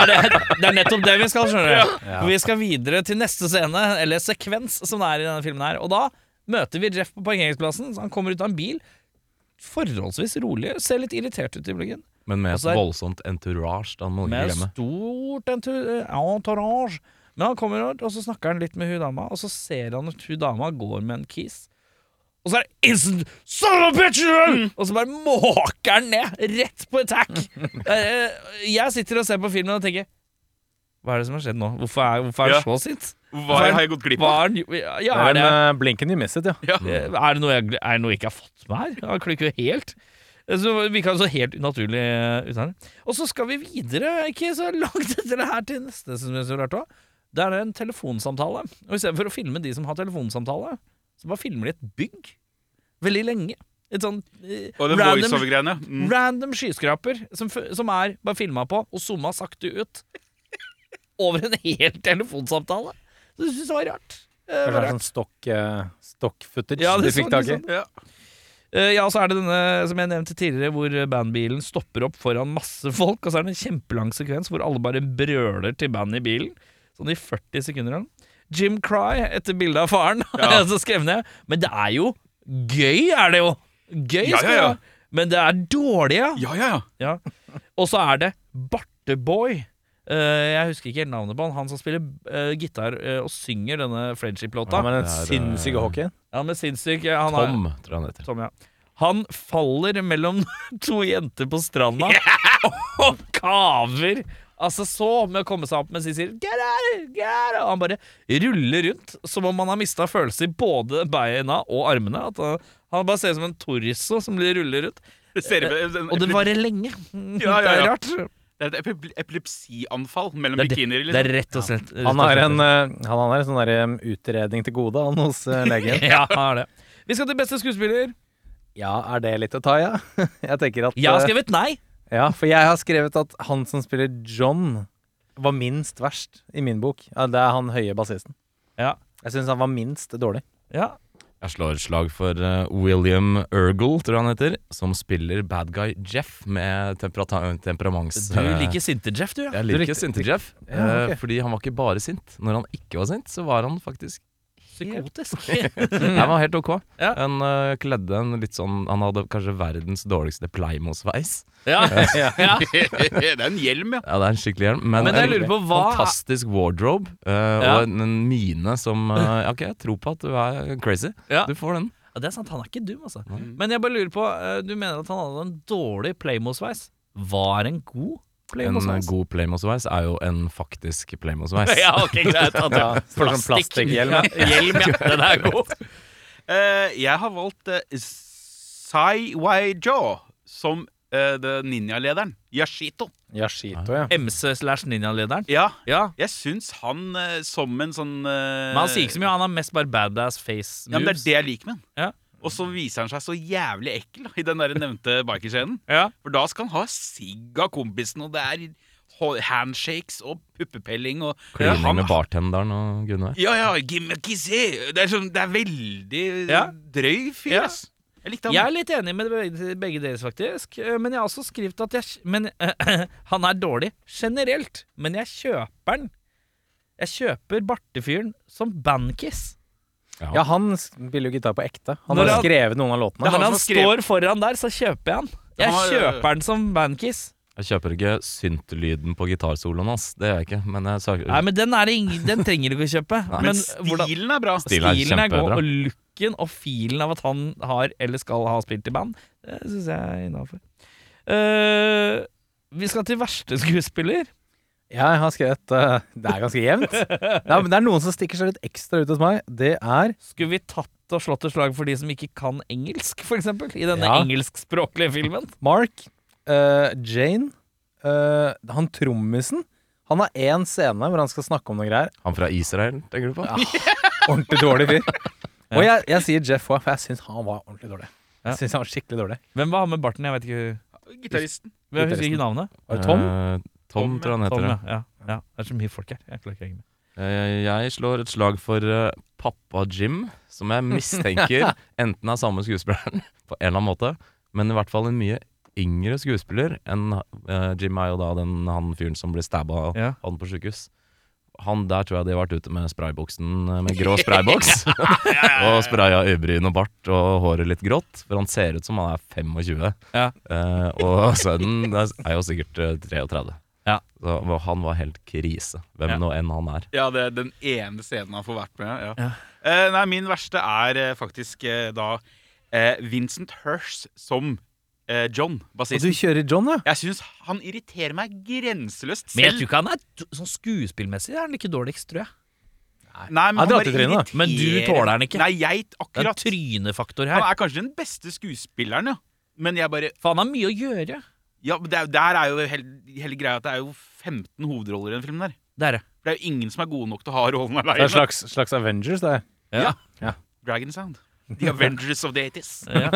Speaker 1: det, det er nettopp det vi skal, skjønner du. For Vi skal videre til neste scene, eller sekvens, som det er i denne filmen her. Og da møter vi Jeff på parkeringsplassen. Så han kommer ut av en bil. Forholdsvis rolig. Ser litt irritert ut i bloggen.
Speaker 4: Men med
Speaker 1: Og så
Speaker 4: et
Speaker 1: er-
Speaker 4: voldsomt entourage, da må du ikke
Speaker 1: Med
Speaker 4: glemme.
Speaker 1: stort entu- entourage. Men han kommer ut, og så snakker han litt med hun dama, og så ser han at hun dama går med en kis. Og så er det instant Son of a bitch! you are!» Og så bare måker han ned, rett på attack. Eh, Jeg sitter og ser på filmen og tenker Hva er det som har skjedd nå? Hvorfor er, hvorfor er han
Speaker 5: Ja.
Speaker 1: så sint?
Speaker 5: hva har jeg gått glipp
Speaker 1: Hva
Speaker 5: av?
Speaker 1: er, han- ja,
Speaker 3: Det
Speaker 1: er
Speaker 3: er
Speaker 1: det
Speaker 3: en uh, blinken you miss it, ja.
Speaker 5: Ja.
Speaker 1: Eh, Er det noe jeg, er det noe jeg ikke har fått med her? Han klikker jo helt. Eh, Så virka det så helt unaturlig eh, ut her. Og så skal vi videre, ikke så langt etter det her, til neste som jeg så rart også. Det er en telefonsamtale. Og i stedet for å filme de som har telefonsamtale, så bare filmer de et bygg. Veldig lenge. Et sånn eh,
Speaker 5: Og den
Speaker 1: random,
Speaker 5: voiceover-greiene. Mm.
Speaker 1: random skyskraper som, f- som er bare filma på og zooma sakte ut. *laughs* Over en hel telefonsamtale. Så jeg synes det var rart. Eh,
Speaker 3: Det
Speaker 1: var
Speaker 3: er
Speaker 1: rart.
Speaker 3: sånn stock, eh, stock footage
Speaker 1: Ja,
Speaker 3: du
Speaker 1: det
Speaker 3: fikk
Speaker 1: så
Speaker 3: tak i.
Speaker 1: litt Eh, Ja, så er det denne som jeg nevnte tidligere, hvor bandbilen stopper opp foran masse folk, og så er det en kjempelang sekvens hvor alle bare brøler til bandet i bilen. Sånn i 40 sekunder. eller noe. Jim Cry etter bildet av faren. *laughs*
Speaker 5: Ja.
Speaker 1: så skrev jeg ned. Men det er jo gøy, er det jo! Gøy,
Speaker 5: Ja,
Speaker 1: skal
Speaker 5: ja,
Speaker 1: det
Speaker 5: ja.
Speaker 1: være. Men det er dårlig, ja.
Speaker 5: Ja, ja, ja.
Speaker 1: Ja. Og så er det Barteboy. Eh, jeg husker ikke helt navnet på han. Han som spiller eh, gitar eh, og synger denne friendship-låta.
Speaker 3: Ja, men den
Speaker 4: Det er, eh,
Speaker 3: sinnssyke hockeyen.
Speaker 1: Ja, men sinnssyk. eh, Han er,
Speaker 4: Tom, tror jeg han heter.
Speaker 1: Tom, Sånn, ja. Han faller mellom *laughs* to jenter på stranda og kaver altså så med å komme seg opp mens de sier get out, of here, get out. of here!» Og han bare ruller rundt som om han har mista følelse i både beina og armene. At han, han bare ser ut som en torso som blir ruller rundt.
Speaker 5: Eh, Det, ser, den,
Speaker 1: Og den varer lenge. *laughs*
Speaker 5: Ja, ja, ja.
Speaker 1: Det er rart.
Speaker 5: det er et epile- epilepsianfall mellom
Speaker 1: Det er, det,
Speaker 5: bikinier.
Speaker 1: det
Speaker 5: Liksom.
Speaker 1: er rett og slett
Speaker 3: Han har en, eh, han har en sånn der, em, utredning til gode han hos
Speaker 1: *laughs*
Speaker 3: eh, legen.
Speaker 1: Ja, han har det. Vi skal til beste skuespiller.
Speaker 3: Ja, er det litt å ta, ja? *laughs* Jeg tenker at
Speaker 1: Jeg har
Speaker 3: eh,
Speaker 1: skrevet nei.
Speaker 3: Ja, for jeg har skrevet at han som spiller John, var minst verst i min bok. Ja, det er han høye bassisten.
Speaker 1: Ja.
Speaker 3: Jeg syns han var minst dårlig.
Speaker 1: Ja,
Speaker 4: Jeg slår et slag for eh, William Ergle, tror jeg han heter, som spiller bad guy Jeff med temperata- eh, temperaments...
Speaker 1: Du liker sinte Jeff, du, ja.
Speaker 3: Du
Speaker 4: Jeg liker
Speaker 3: likte-
Speaker 4: sinte Jeff,
Speaker 3: Ja, ok.
Speaker 4: eh, fordi han var ikke bare sint. Når han ikke var sint, så var han faktisk
Speaker 1: Psykotisk.
Speaker 4: *laughs* Den var helt ok.
Speaker 1: Ja.
Speaker 4: Han øh, kledde en litt sånn Han hadde kanskje verdens dårligste Pleimo-sveis.
Speaker 1: *laughs* ja, ja, ja.
Speaker 5: *laughs* det er en hjelm, ja.
Speaker 4: Ja, det er en skikkelig hjelm, men,
Speaker 1: Men jeg lurer på hva-
Speaker 4: fantastisk wardrobe øh,
Speaker 1: Ja.
Speaker 4: og en, en mine som
Speaker 1: *laughs*
Speaker 4: øh, ja, OK, jeg tror på at du er crazy.
Speaker 1: Ja.
Speaker 4: Du får den.
Speaker 1: Ja, Det er sant, han er ikke dum, altså. Men jeg bare lurer på, eh, du mener at han hadde en dårlig Playmo-sveis. Var en god
Speaker 4: En øh,
Speaker 1: Playmo-sveis?
Speaker 4: god Pleimo-sveis er jo en faktisk Pleimo-sveis.
Speaker 1: *laughs* Ja, ok, greit. at det-
Speaker 3: Ja, for sånn plastikkhjelm, ja.
Speaker 1: Hjelm, ja. Den er god. *laughs*
Speaker 5: Eh, jeg har valgt eh, Sai Waijo som eh, det ninjalederen. Yashito.
Speaker 3: Yashito, ja.
Speaker 1: MC slash ninja-lederen.
Speaker 5: Ja,
Speaker 1: Ja.
Speaker 5: jeg syns han eh, som en sånn eh,
Speaker 1: Men han sier ikke så mye, han har mest bare badass face
Speaker 5: Ja, men det
Speaker 1: moves.
Speaker 5: er det jeg liker med han.
Speaker 1: Ja.
Speaker 5: Og så viser han seg så jævlig ekkel da, i den der nevnte bikerscenen.
Speaker 1: Ja.
Speaker 5: For da skal han ha sigg av kompisen, og det er ho- handshakes og puppepelling og
Speaker 4: Klining
Speaker 5: han,
Speaker 4: med bartenderen og Gunnar.
Speaker 5: Ja, ja, gimmickise! Det er, sånn, det er veldig
Speaker 1: Ja.
Speaker 5: drøy fyr,
Speaker 1: Ja.
Speaker 5: ass. Jeg likte
Speaker 1: Jeg
Speaker 5: han.
Speaker 1: er litt enig med begge, begge deres, faktisk. Eh, Men jeg har også skrevet at jeg Men eh, *clears throat* han er dårlig generelt. Men jeg kjøper den. Jeg kjøper bartefyren som bandkiss.
Speaker 3: Ja, han spiller jo gitar på ekte. Han
Speaker 1: Når
Speaker 3: har
Speaker 1: han-
Speaker 3: skrevet noen av
Speaker 5: Det
Speaker 3: låtene.
Speaker 5: er han
Speaker 1: Når han
Speaker 5: som skrev-
Speaker 1: står foran der, så kjøper jeg han. Jeg
Speaker 5: Han har-
Speaker 1: kjøper den som bandkiss.
Speaker 4: Jeg kjøper ikke syntlyden på gitarsoloen hans, det gjør jeg ikke, men jeg søker
Speaker 1: Nei, men den, er det ingen, den trenger du ikke å kjøpe.
Speaker 4: Nei.
Speaker 5: Men
Speaker 1: Men hvordan
Speaker 5: stilen er bra.
Speaker 4: Stil er
Speaker 1: stilen er god,
Speaker 4: kjempebra.
Speaker 1: og looken og filen av at han har eller skal ha spilt i band, det syns jeg er innafor. Eh, vi skal til verste skuespiller.
Speaker 3: Jeg har skrevet eh, Det er ganske jevnt.
Speaker 1: *laughs*
Speaker 3: Ja, men det er noen som stikker seg litt ekstra ut hos meg. Det er
Speaker 1: Skulle vi tatt og slått et slag for de som ikke kan engelsk, f.eks.? I denne
Speaker 3: Ja.
Speaker 1: engelskspråklige filmen.
Speaker 3: Mark, eh, Jane, eh, han trommisen. Han har én scene hvor han skal snakke om noe greier.
Speaker 4: Han fra Israel, tenker du på?
Speaker 3: Ordentlig dårlig *laughs* fyr. Og jeg, jeg sier Jeff òg, for jeg syns han var ordentlig dårlig. Jeg synes han var skikkelig dårlig
Speaker 1: Hvem var han med barten? Jeg vet ikke
Speaker 5: Gitaristen.
Speaker 1: Jeg husker ikke navnet.
Speaker 3: Var det Tom?
Speaker 4: Eh, Tom,
Speaker 5: Tom,
Speaker 4: tror jeg han heter.
Speaker 1: Tom,
Speaker 4: det.
Speaker 1: ja. Ja. ja. Det er så mye folk her. Jeg klarer ikke å henge med.
Speaker 4: Eh, Jeg slår et slag for eh, pappa Jim, som jeg
Speaker 1: *laughs*
Speaker 4: mistenker enten er samme skuespilleren *laughs* på en eller annen måte, men i hvert fall en mye yngre skuespiller enn eh, Jim er jo da den han fyren som ble stabba
Speaker 1: Ja.
Speaker 4: han på sykehus. Han der tror jeg de har vært ute med sprayboksen eh, med grå
Speaker 1: *laughs*
Speaker 4: sprayboks. og spraya øyebryn og bart og håret litt grått, for han ser ut som han er 25.
Speaker 1: Ja.
Speaker 4: Eh, og *laughs* sønnen det er jo sikkert eh, 33.
Speaker 1: Ja.
Speaker 4: Så han var helt krise,
Speaker 1: Ja.
Speaker 4: hvem nå enn han er.
Speaker 5: Ja, det er den ene scenen han får vært med. Ja.
Speaker 1: Ja.
Speaker 5: Eh, nei, min verste er eh, faktisk eh, da eh, Vincent Hirsch som eh, John,
Speaker 3: Og
Speaker 1: Altså-
Speaker 3: du
Speaker 5: bassisten.
Speaker 3: kjører John, ja?
Speaker 5: Jeg syns han irriterer meg grenseløst
Speaker 1: Men jeg
Speaker 5: selv.
Speaker 1: tror ikke han er d- sånn skuespillmessig er han ikke dårligst, tror jeg.
Speaker 5: Nei, men
Speaker 3: Han
Speaker 5: han
Speaker 3: drar til
Speaker 5: bare
Speaker 3: trynet.
Speaker 5: irriterer
Speaker 1: Men du tåler han ikke.
Speaker 5: Nei, jeg
Speaker 1: Det er en
Speaker 5: akkurat
Speaker 1: trynefaktor
Speaker 5: Han
Speaker 1: her.
Speaker 5: er kanskje den beste skuespilleren, ja. Men jeg bare
Speaker 1: For han har mye å gjøre.
Speaker 5: Ja, men det er, der er jo hele, hele greia at det er jo 15 hovedroller i den filmen der.
Speaker 1: Det er det.
Speaker 5: For det er jo ingen som er gode nok til å ha rollen
Speaker 3: Det er
Speaker 5: aleine.
Speaker 3: en slags, slags Avengers, det.
Speaker 5: Dragon Sound. The Avengers of the 80s.
Speaker 1: Ja.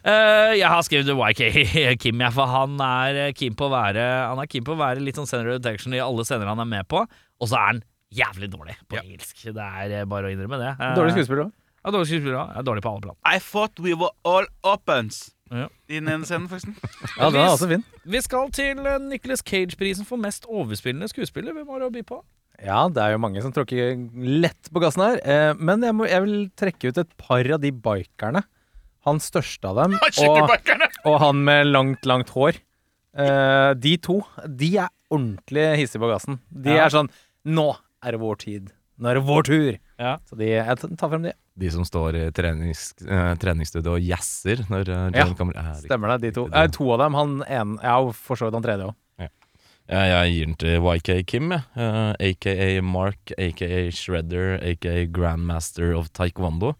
Speaker 1: Eh, jeg har skrevet YK *laughs* Kim, jeg, for han er eh, keen på å være Han er keen på å være litt sånn sender detection i alle scener han er med på, og så er han jævlig dårlig på
Speaker 5: Ja.
Speaker 1: engelsk. Det er eh, bare å innrømme det. Eh,
Speaker 3: Dårlig skuespiller òg.
Speaker 1: Ja, dårlig skuespiller. også. Ja, dårlig på alle plan.
Speaker 5: I thought we were all opens.
Speaker 1: Ja.
Speaker 5: I den ene scenen, forresten.
Speaker 3: Ja, den er også fin.
Speaker 1: Vi skal til eh, Nicolas Cage-prisen for mest overspillende skuespiller. Hvem har det å by på?
Speaker 3: Ja, det er jo mange som tråkker lett på gassen her. Eh, men jeg, må, jeg vil trekke ut et par av de bikerne. Han største av dem, og,
Speaker 5: Skitterbikerne!
Speaker 3: og han med langt, langt hår. Eh, de to, de er ordentlig hissige på gassen. De
Speaker 1: Ja.
Speaker 3: er sånn Nå er det vår tid. Nå er det vår tur.
Speaker 1: Ja.
Speaker 3: Så de, jeg t- tar frem de.
Speaker 4: De som står i trenings, eh, treningsstudio og jazzer når eh,
Speaker 3: Ja,
Speaker 4: John kommer er det-
Speaker 3: Stemmer det, de to.
Speaker 4: riktig,
Speaker 3: Eh,
Speaker 4: det.
Speaker 3: to av dem. Han ene Ja, og for så vidt han tredje òg.
Speaker 4: Ja, jeg gir den til YK Kim, jeg. Eh, aka Mark, aka Shredder, aka Grandmaster of Taekwondo.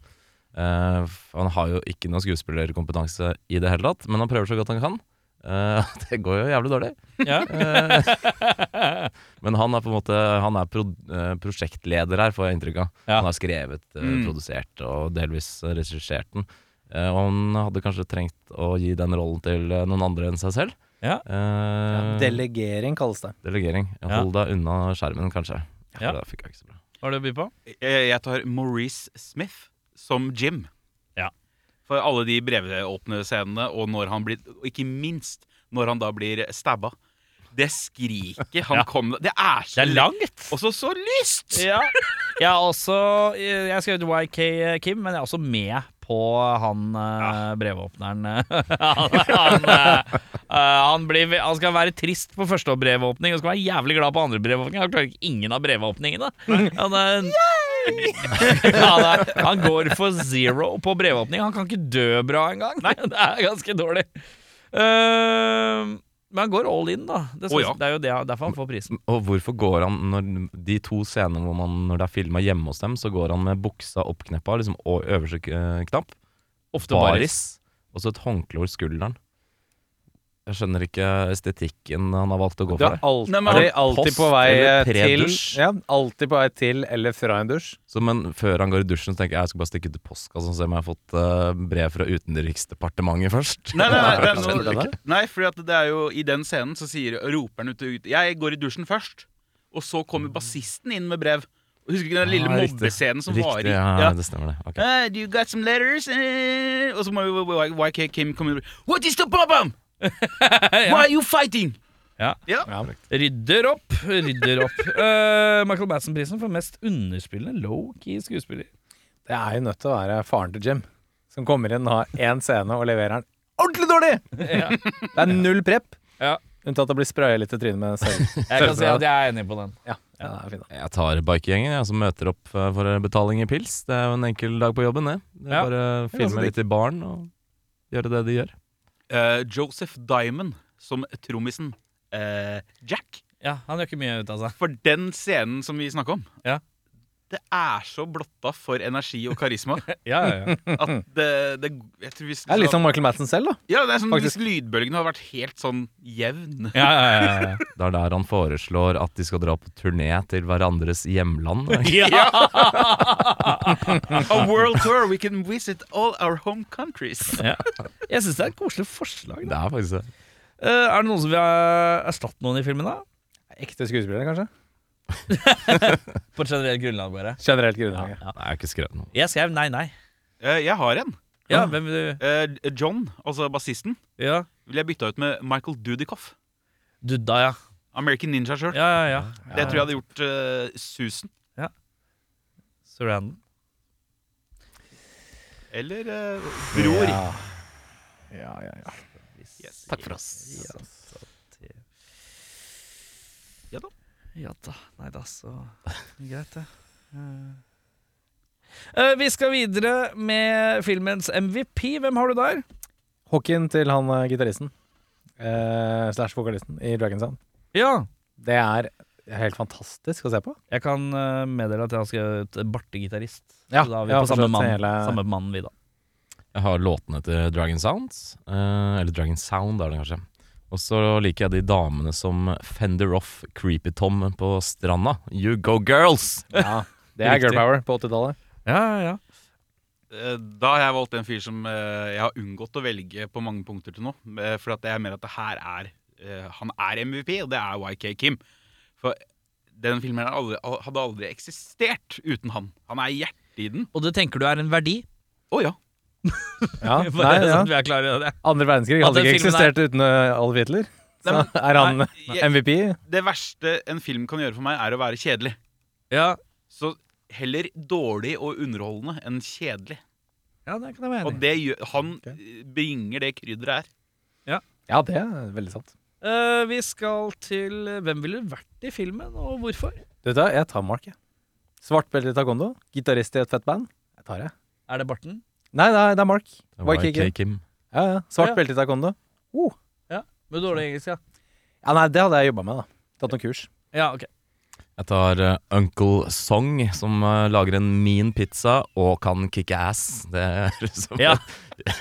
Speaker 4: Eh, f- han har jo ikke noe skuespillerkompetanse i det hele tatt, men han prøver så godt han kan. Eh, *laughs* det går jo jævlig dårlig.
Speaker 1: Ja.
Speaker 4: Eh, *laughs* men han er på en måte Han er pro, eh, prosjektleder her, får jeg inntrykk av.
Speaker 1: Ja.
Speaker 4: Han har skrevet, eh,
Speaker 5: Mm.
Speaker 4: produsert og delvis eh, regissert den. Eh, og han hadde kanskje trengt å gi den rollen til eh, noen andre enn seg selv.
Speaker 1: Ja.
Speaker 4: Eh,
Speaker 3: Delegering kalles det.
Speaker 4: Delegering.
Speaker 1: Ja.
Speaker 4: Hold deg unna skjermen, kanskje.
Speaker 1: Ja.
Speaker 4: Ja. for Det fikk jeg ikke så bra.
Speaker 1: Hva har det å by på?
Speaker 5: Eh, Jeg tar Maurice Smith som Jim.
Speaker 1: Ja.
Speaker 5: For alle de brevåpne scenene, og når han blir og Ikke minst når han da blir stabba. Det skriket han kom Det er så
Speaker 1: Det er langt!
Speaker 5: Og så så lyst!
Speaker 1: Ja. Jeg er også Jeg har skrevet YK eh, Kim, men jeg er også med på han eh, brevåpneren. *laughs* han, han, eh, eh, han, blir, ve- han skal være trist på første brevåpning og skal være jævlig glad på andre brevåpning. Han klarer ikke ingen av brevåpningene. Han, er, *laughs* han, er, han går for zero på brevåpning. Han kan ikke dø bra engang. *laughs* Det er ganske dårlig. Eh, men han går all in, da. Det,
Speaker 5: Å, ja.
Speaker 1: det er jo det, derfor han får prisen.
Speaker 4: Og hvorfor går han når de to scenene hvor man, når det er filma hjemme hos dem, så går han med buksa oppkneppa liksom, og øverste eh, knapp?
Speaker 1: Ofte
Speaker 4: Baris. Og så et håndkle over skulderen. Jeg skjønner ikke estetikken han har valgt å gå
Speaker 3: Du er
Speaker 4: for. der.
Speaker 3: alltid,
Speaker 5: Nei, men
Speaker 3: er alltid
Speaker 4: post
Speaker 3: på vei
Speaker 4: eller
Speaker 3: til
Speaker 4: predusj?
Speaker 3: ja, Alltid på vei til eller fra en dusj.
Speaker 4: Så, men før han går i dusjen, så tenker jeg jeg skal bare stikke til postkassa og se om jeg har fått eh, brev fra Utenriksdepartementet først.
Speaker 5: Nei,
Speaker 4: *laughs*
Speaker 5: nei, nei,
Speaker 4: Er det
Speaker 5: det er
Speaker 4: det
Speaker 5: noe,
Speaker 4: der?
Speaker 5: nei fordi at det er jo i den scenen så sier roper han ut, ut Jeg går i dusjen først, og så kommer bassisten inn med brev. Og Husker du ikke den lille
Speaker 4: Ah, riktig.
Speaker 5: mobbescenen som
Speaker 4: Riktig,
Speaker 5: varer?
Speaker 4: ja,
Speaker 5: Ja.
Speaker 4: det stemmer det. Ok.
Speaker 5: Eh, do you got some letters? Eh, og så må jo YK Kim komme inn og bare, What is the *laughs* problem? Why are you fighting?
Speaker 1: Rydder opp, rydder *laughs* opp. Eh, Michael Madsen-prisen for mest underspillende low-key skuespiller.
Speaker 3: Det er jo nødt til å være faren til Jim, som kommer inn og har én scene og leverer den ordentlig dårlig!
Speaker 1: Ja.
Speaker 3: Det er null prep.
Speaker 1: Ja.
Speaker 3: Unntatt å bli spraya litt i trynet med selv.
Speaker 1: Jeg kan si at jeg er enig på den.
Speaker 3: Ja, ja, det er fint, da.
Speaker 4: Jeg tar bikegjengen, jeg som møter opp eh, for betaling i pils. Det er jo en enkel dag på jobben, det. det er
Speaker 1: Ja.
Speaker 4: Bare
Speaker 3: er ganske
Speaker 4: filme litt i baren og gjøre det de gjør.
Speaker 5: Eh, Joseph Diamond som trommisen eh, Jack.
Speaker 1: Ja, Han gjør ikke mye ut av seg.
Speaker 5: For den scenen som vi snakker om,
Speaker 1: Ja.
Speaker 5: det er så blotta for energi og *laughs* karisma
Speaker 1: Ja, ja, ja.
Speaker 5: at det, det sånn jeg tror hvis,
Speaker 3: Det er litt som Michael Madsen selv, da.
Speaker 5: Ja, det er sånn
Speaker 3: Faktisk.
Speaker 5: Hvis lydbølgene hadde vært helt sånn *laughs* jevn
Speaker 1: *laughs* ja, ja, ja, ja.
Speaker 4: Det er der han foreslår at de skal dra på turné til hverandres hjemland.
Speaker 5: A world tour, we can visit all our home countries.
Speaker 1: Jeg syns det er et koselig forslag.
Speaker 4: Det er faktisk det.
Speaker 1: Eh, er det noen som vil eh, erstatte noen i filmen, da?
Speaker 3: Ekte skuespillere, kanskje.
Speaker 1: På et generelt grunnlag, bare.
Speaker 3: Generelt grunnlaget.
Speaker 4: Nei, jeg har ikke skrevet noe.
Speaker 1: Jeg skrev nei, nei.
Speaker 5: Eh, jeg har en.
Speaker 1: Ja, hvem vil du?
Speaker 5: Eh, John, altså bassisten,
Speaker 1: Ja.
Speaker 5: vil jeg bytta ut med Michael Dudikoff.
Speaker 1: Dudda, ja.
Speaker 5: American Ninja Shirt.
Speaker 1: Ja, ja, ja.
Speaker 5: Det tror jeg hadde gjort eh, susen.
Speaker 1: Surrenden.
Speaker 5: Eller eh, Bror.
Speaker 3: Ja. Ja, ja, ja.
Speaker 5: Yes.
Speaker 1: Takk for oss.
Speaker 5: Ja da.
Speaker 1: Ja da. Nei da, *laughs* så Greit, det. Eh, vi skal videre med filmens MVP. Hvem har du der?
Speaker 3: Hockeyen til han eh, gitaristen eh, slash vokalisten i Dragon Sound.
Speaker 1: Ja.
Speaker 3: Det er helt fantastisk å se på.
Speaker 1: Jeg kan eh, meddele at jeg har skrevet bartegitarist.
Speaker 3: Ja,
Speaker 1: så da er vi
Speaker 3: jeg har
Speaker 1: på samme
Speaker 3: forstått
Speaker 1: mann,
Speaker 3: hele-
Speaker 1: samme mann vi, da.
Speaker 4: Jeg har låtene til Dragon Sounds. eh, eller Dragon Sound, er det kanskje. Og så liker jeg de damene som fender off Creepy Tom på stranda. You go girls!
Speaker 1: *laughs*
Speaker 3: Ja, det er
Speaker 4: Riktig.
Speaker 3: girl power på 80-tallet.
Speaker 1: Ja, ja.
Speaker 5: Eh, Da har jeg valgt en fyr som eh, jeg har unngått å velge på mange punkter til nå. eh, For at jeg mener at det her er eh, Han er MVP, og det er YK Kim. For den filmen her aldri, al- hadde aldri eksistert uten han. Han er hjertet i den.
Speaker 1: Og det tenker du er en verdi? *laughs*
Speaker 5: Å ja.
Speaker 3: Ja, nei,
Speaker 1: Bare
Speaker 3: ja.
Speaker 1: sånn at vi er klare i det.
Speaker 3: Andre verdenskrig
Speaker 1: At
Speaker 3: hadde
Speaker 1: den
Speaker 3: ikke
Speaker 1: filmen er-
Speaker 3: eksistert uten eh, Adolf Hitler. Så
Speaker 5: Nei,
Speaker 3: er han
Speaker 5: nei,
Speaker 3: *laughs*
Speaker 5: jeg-
Speaker 3: MVP.
Speaker 5: Det verste en film kan gjøre for meg, er å være kjedelig.
Speaker 1: Ja.
Speaker 5: Så heller dårlig og underholdende enn kjedelig.
Speaker 1: ja, det kan jeg være
Speaker 5: Og
Speaker 1: enig i.
Speaker 5: det gjør, han eh, bringer det krydderet her.
Speaker 3: Ja, det er veldig sant.
Speaker 1: Eh, vi skal til eh, Hvem ville vært i filmen, og hvorfor?
Speaker 3: Du vet hva, jeg tar Mark, jeg. Svart belte i taekwondo, gitarist i et fett band. Jeg tar det.
Speaker 1: Er det barten?
Speaker 3: Nei, nei, det er Mark.
Speaker 4: Det
Speaker 3: Why
Speaker 4: var
Speaker 3: kick
Speaker 4: K.
Speaker 3: it?
Speaker 4: Kim.
Speaker 3: Ja, ja. Svart
Speaker 1: Ja.
Speaker 3: belte i taekwondo.
Speaker 1: Med dårlig engelsk, ja.
Speaker 3: Ja, nei, det hadde jeg jobba med, da. Tatt noen kurs.
Speaker 1: Ja, ok.
Speaker 4: Jeg tar eh, Uncle Song, som eh, lager en mean pizza og kan kicke ass. Det *laughs* høres ut som
Speaker 1: Ja.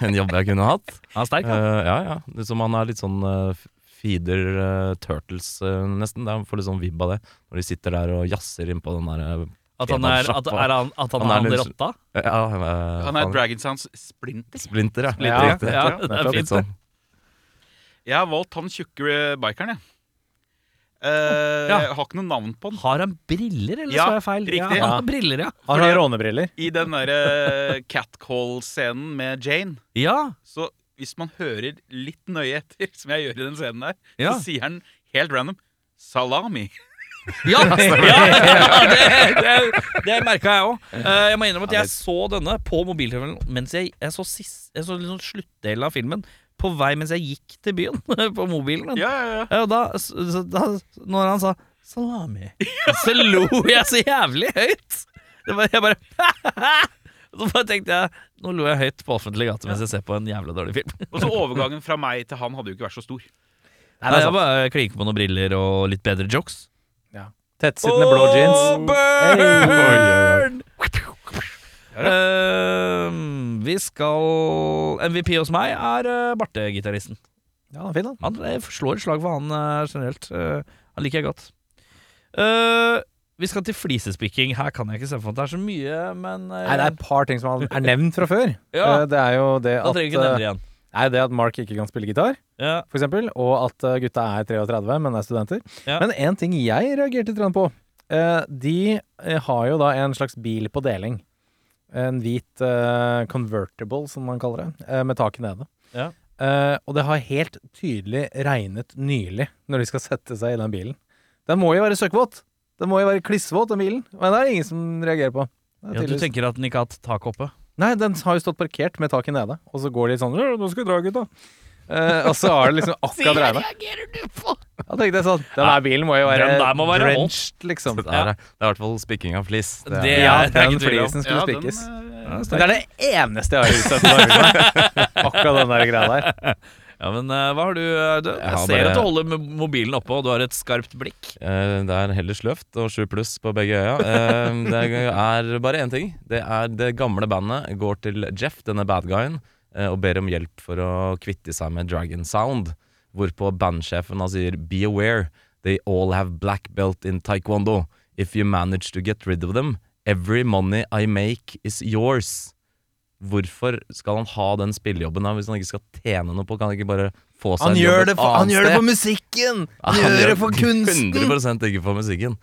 Speaker 4: en jobb jeg kunne hatt.
Speaker 1: Han er sterk, han.
Speaker 4: Eh, ja, ja. Det er som han er litt sånn eh, f- feeder eh, turtles, eh, nesten. Det er- får litt sånn vibb av det, når de sitter der og jazzer innpå den der eh,
Speaker 1: At han er, at, er han, at han,
Speaker 4: Han er
Speaker 1: er han
Speaker 4: litt-
Speaker 1: rotta?
Speaker 4: ja, eh,
Speaker 5: Han er
Speaker 4: faen,
Speaker 5: Dragon Sounds splinter.
Speaker 4: Splinter, ja.
Speaker 3: Splinter, ja.
Speaker 4: Riktig.
Speaker 1: Ja, det er
Speaker 4: Nettopp.
Speaker 1: fint.
Speaker 4: Litt sånn.
Speaker 5: Jeg har valgt han tjukke eh, bikeren, jeg. Eh,
Speaker 1: Ja.
Speaker 5: Jeg har ikke noe navn på han.
Speaker 1: Har han briller, eller
Speaker 5: Ja,
Speaker 1: så er jeg feil?
Speaker 5: riktig.
Speaker 1: Ja, han har briller, ja.
Speaker 3: Han har rånebriller.
Speaker 5: I den derre catcall-scenen med Jane,
Speaker 1: Ja,
Speaker 5: *laughs* så hvis man hører litt nøye etter, som jeg gjør i den scenen der,
Speaker 1: Ja.
Speaker 5: så sier han helt random salami.
Speaker 7: Ja, ja det, det, det merka jeg òg. Jeg må innrømme at jeg så denne på mobiltelefonen mens jeg, jeg så, sist, jeg så liksom sluttdelen av filmen på vei mens jeg gikk til byen *laughs* på mobilen. min.
Speaker 5: *laughs* Ja, ja, ja.
Speaker 7: Ja, og da, så, da Når han sa salami, så lo jeg så jævlig høyt. Det var, jeg bare *laughs* Så bare tenkte jeg Nå lo jeg høyt på offentlig gate mens jeg ser på en jævla dårlig film.
Speaker 5: Og så overgangen fra meg til han hadde jo ikke vært så stor. Altså,
Speaker 7: Nei, jeg bare klinker på noen briller og litt bedre jokes.
Speaker 3: Tettsittende blå jeans.
Speaker 7: burn!
Speaker 3: Hey.
Speaker 7: Ehm, vi skal MVP hos meg er uh, Barte-gitaristen.
Speaker 3: Ja, den er fin, den.
Speaker 7: Han eh, slår et slag for han eh, generelt. Eh, han liker jeg godt. Eh, vi skal til flisespikking. Her kan jeg ikke se for meg at det er så mye, men eh,
Speaker 3: Nei, det er et par ting som er nevnt fra før.
Speaker 7: Ja.
Speaker 3: Eh, Det er jo det
Speaker 7: Da
Speaker 3: at,
Speaker 7: trenger vi ikke nevne det
Speaker 3: eh,
Speaker 7: igjen.
Speaker 3: nei, det at Mark ikke kan spille gitar,
Speaker 7: Ja.
Speaker 3: for eksempel, og at eh, gutta er 33, men er studenter.
Speaker 7: Ja.
Speaker 3: Men én ting jeg reagerte litt grann på. eh, De eh, har jo da en slags bil på deling. En hvit eh, convertible, som man kaller det, eh, med taket nede.
Speaker 7: Ja.
Speaker 3: Eh, Og det har helt tydelig regnet nylig når de skal sette seg i den bilen. Den må jo være søkkvåt! Den må jo være klissvåt, den bilen. Men det er det ingen som reagerer på. Det er
Speaker 1: Ja, du
Speaker 3: tydeligvis-
Speaker 1: tenker at den ikke har hatt taket oppe?
Speaker 3: Nei, den har jo stått parkert med taket nede, og så går de sånn «Øh, 'Nå skal vi dra, gutta'. Eh, og så har det *laughs* liksom akkurat regna. Da tenkte jeg sånn Den der bilen må jo være,
Speaker 1: Den der må være
Speaker 3: drenched,
Speaker 1: *laughs*
Speaker 3: liksom.
Speaker 4: Det er, det er i hvert fall spikking av flis. Det er,
Speaker 1: Det
Speaker 3: Ja,
Speaker 1: er det er
Speaker 3: den
Speaker 1: ikke tvil om.
Speaker 3: flisen skulle
Speaker 5: den,
Speaker 3: spikkes.
Speaker 5: eh,
Speaker 3: Det er det eneste jeg har utsatt for. *laughs* Akkurat den der greia der.
Speaker 1: Ja, men eh, hva har du eh, du- Jeg,
Speaker 4: har
Speaker 1: ser
Speaker 4: bare-
Speaker 1: at du holder mo- mobilen oppe, og du har et skarpt blikk.
Speaker 4: eh, det er heller sløvt og sju pluss på begge øya. Eh, Det er bare én ting. Det er det gamle bandet går til Jeff, denne bad guyen, eh, og ber om hjelp for å kvitte seg med Dragon Sound. Hvorpå bandsjefen da sier Be aware, they all have black belt in taekwondo. If you manage to get rid of them, every money I make is yours. Hvorfor skal han ha den spillejobben da, hvis han ikke skal tjene noe på? Kan han ikke bare få seg
Speaker 3: Han
Speaker 4: en jobb
Speaker 3: gjør
Speaker 4: et
Speaker 3: det for,
Speaker 4: annet
Speaker 3: han gjør det
Speaker 4: sted?
Speaker 3: for musikken!
Speaker 4: Ja,
Speaker 3: Han gjør det for kunsten!
Speaker 4: 100 ikke for musikken.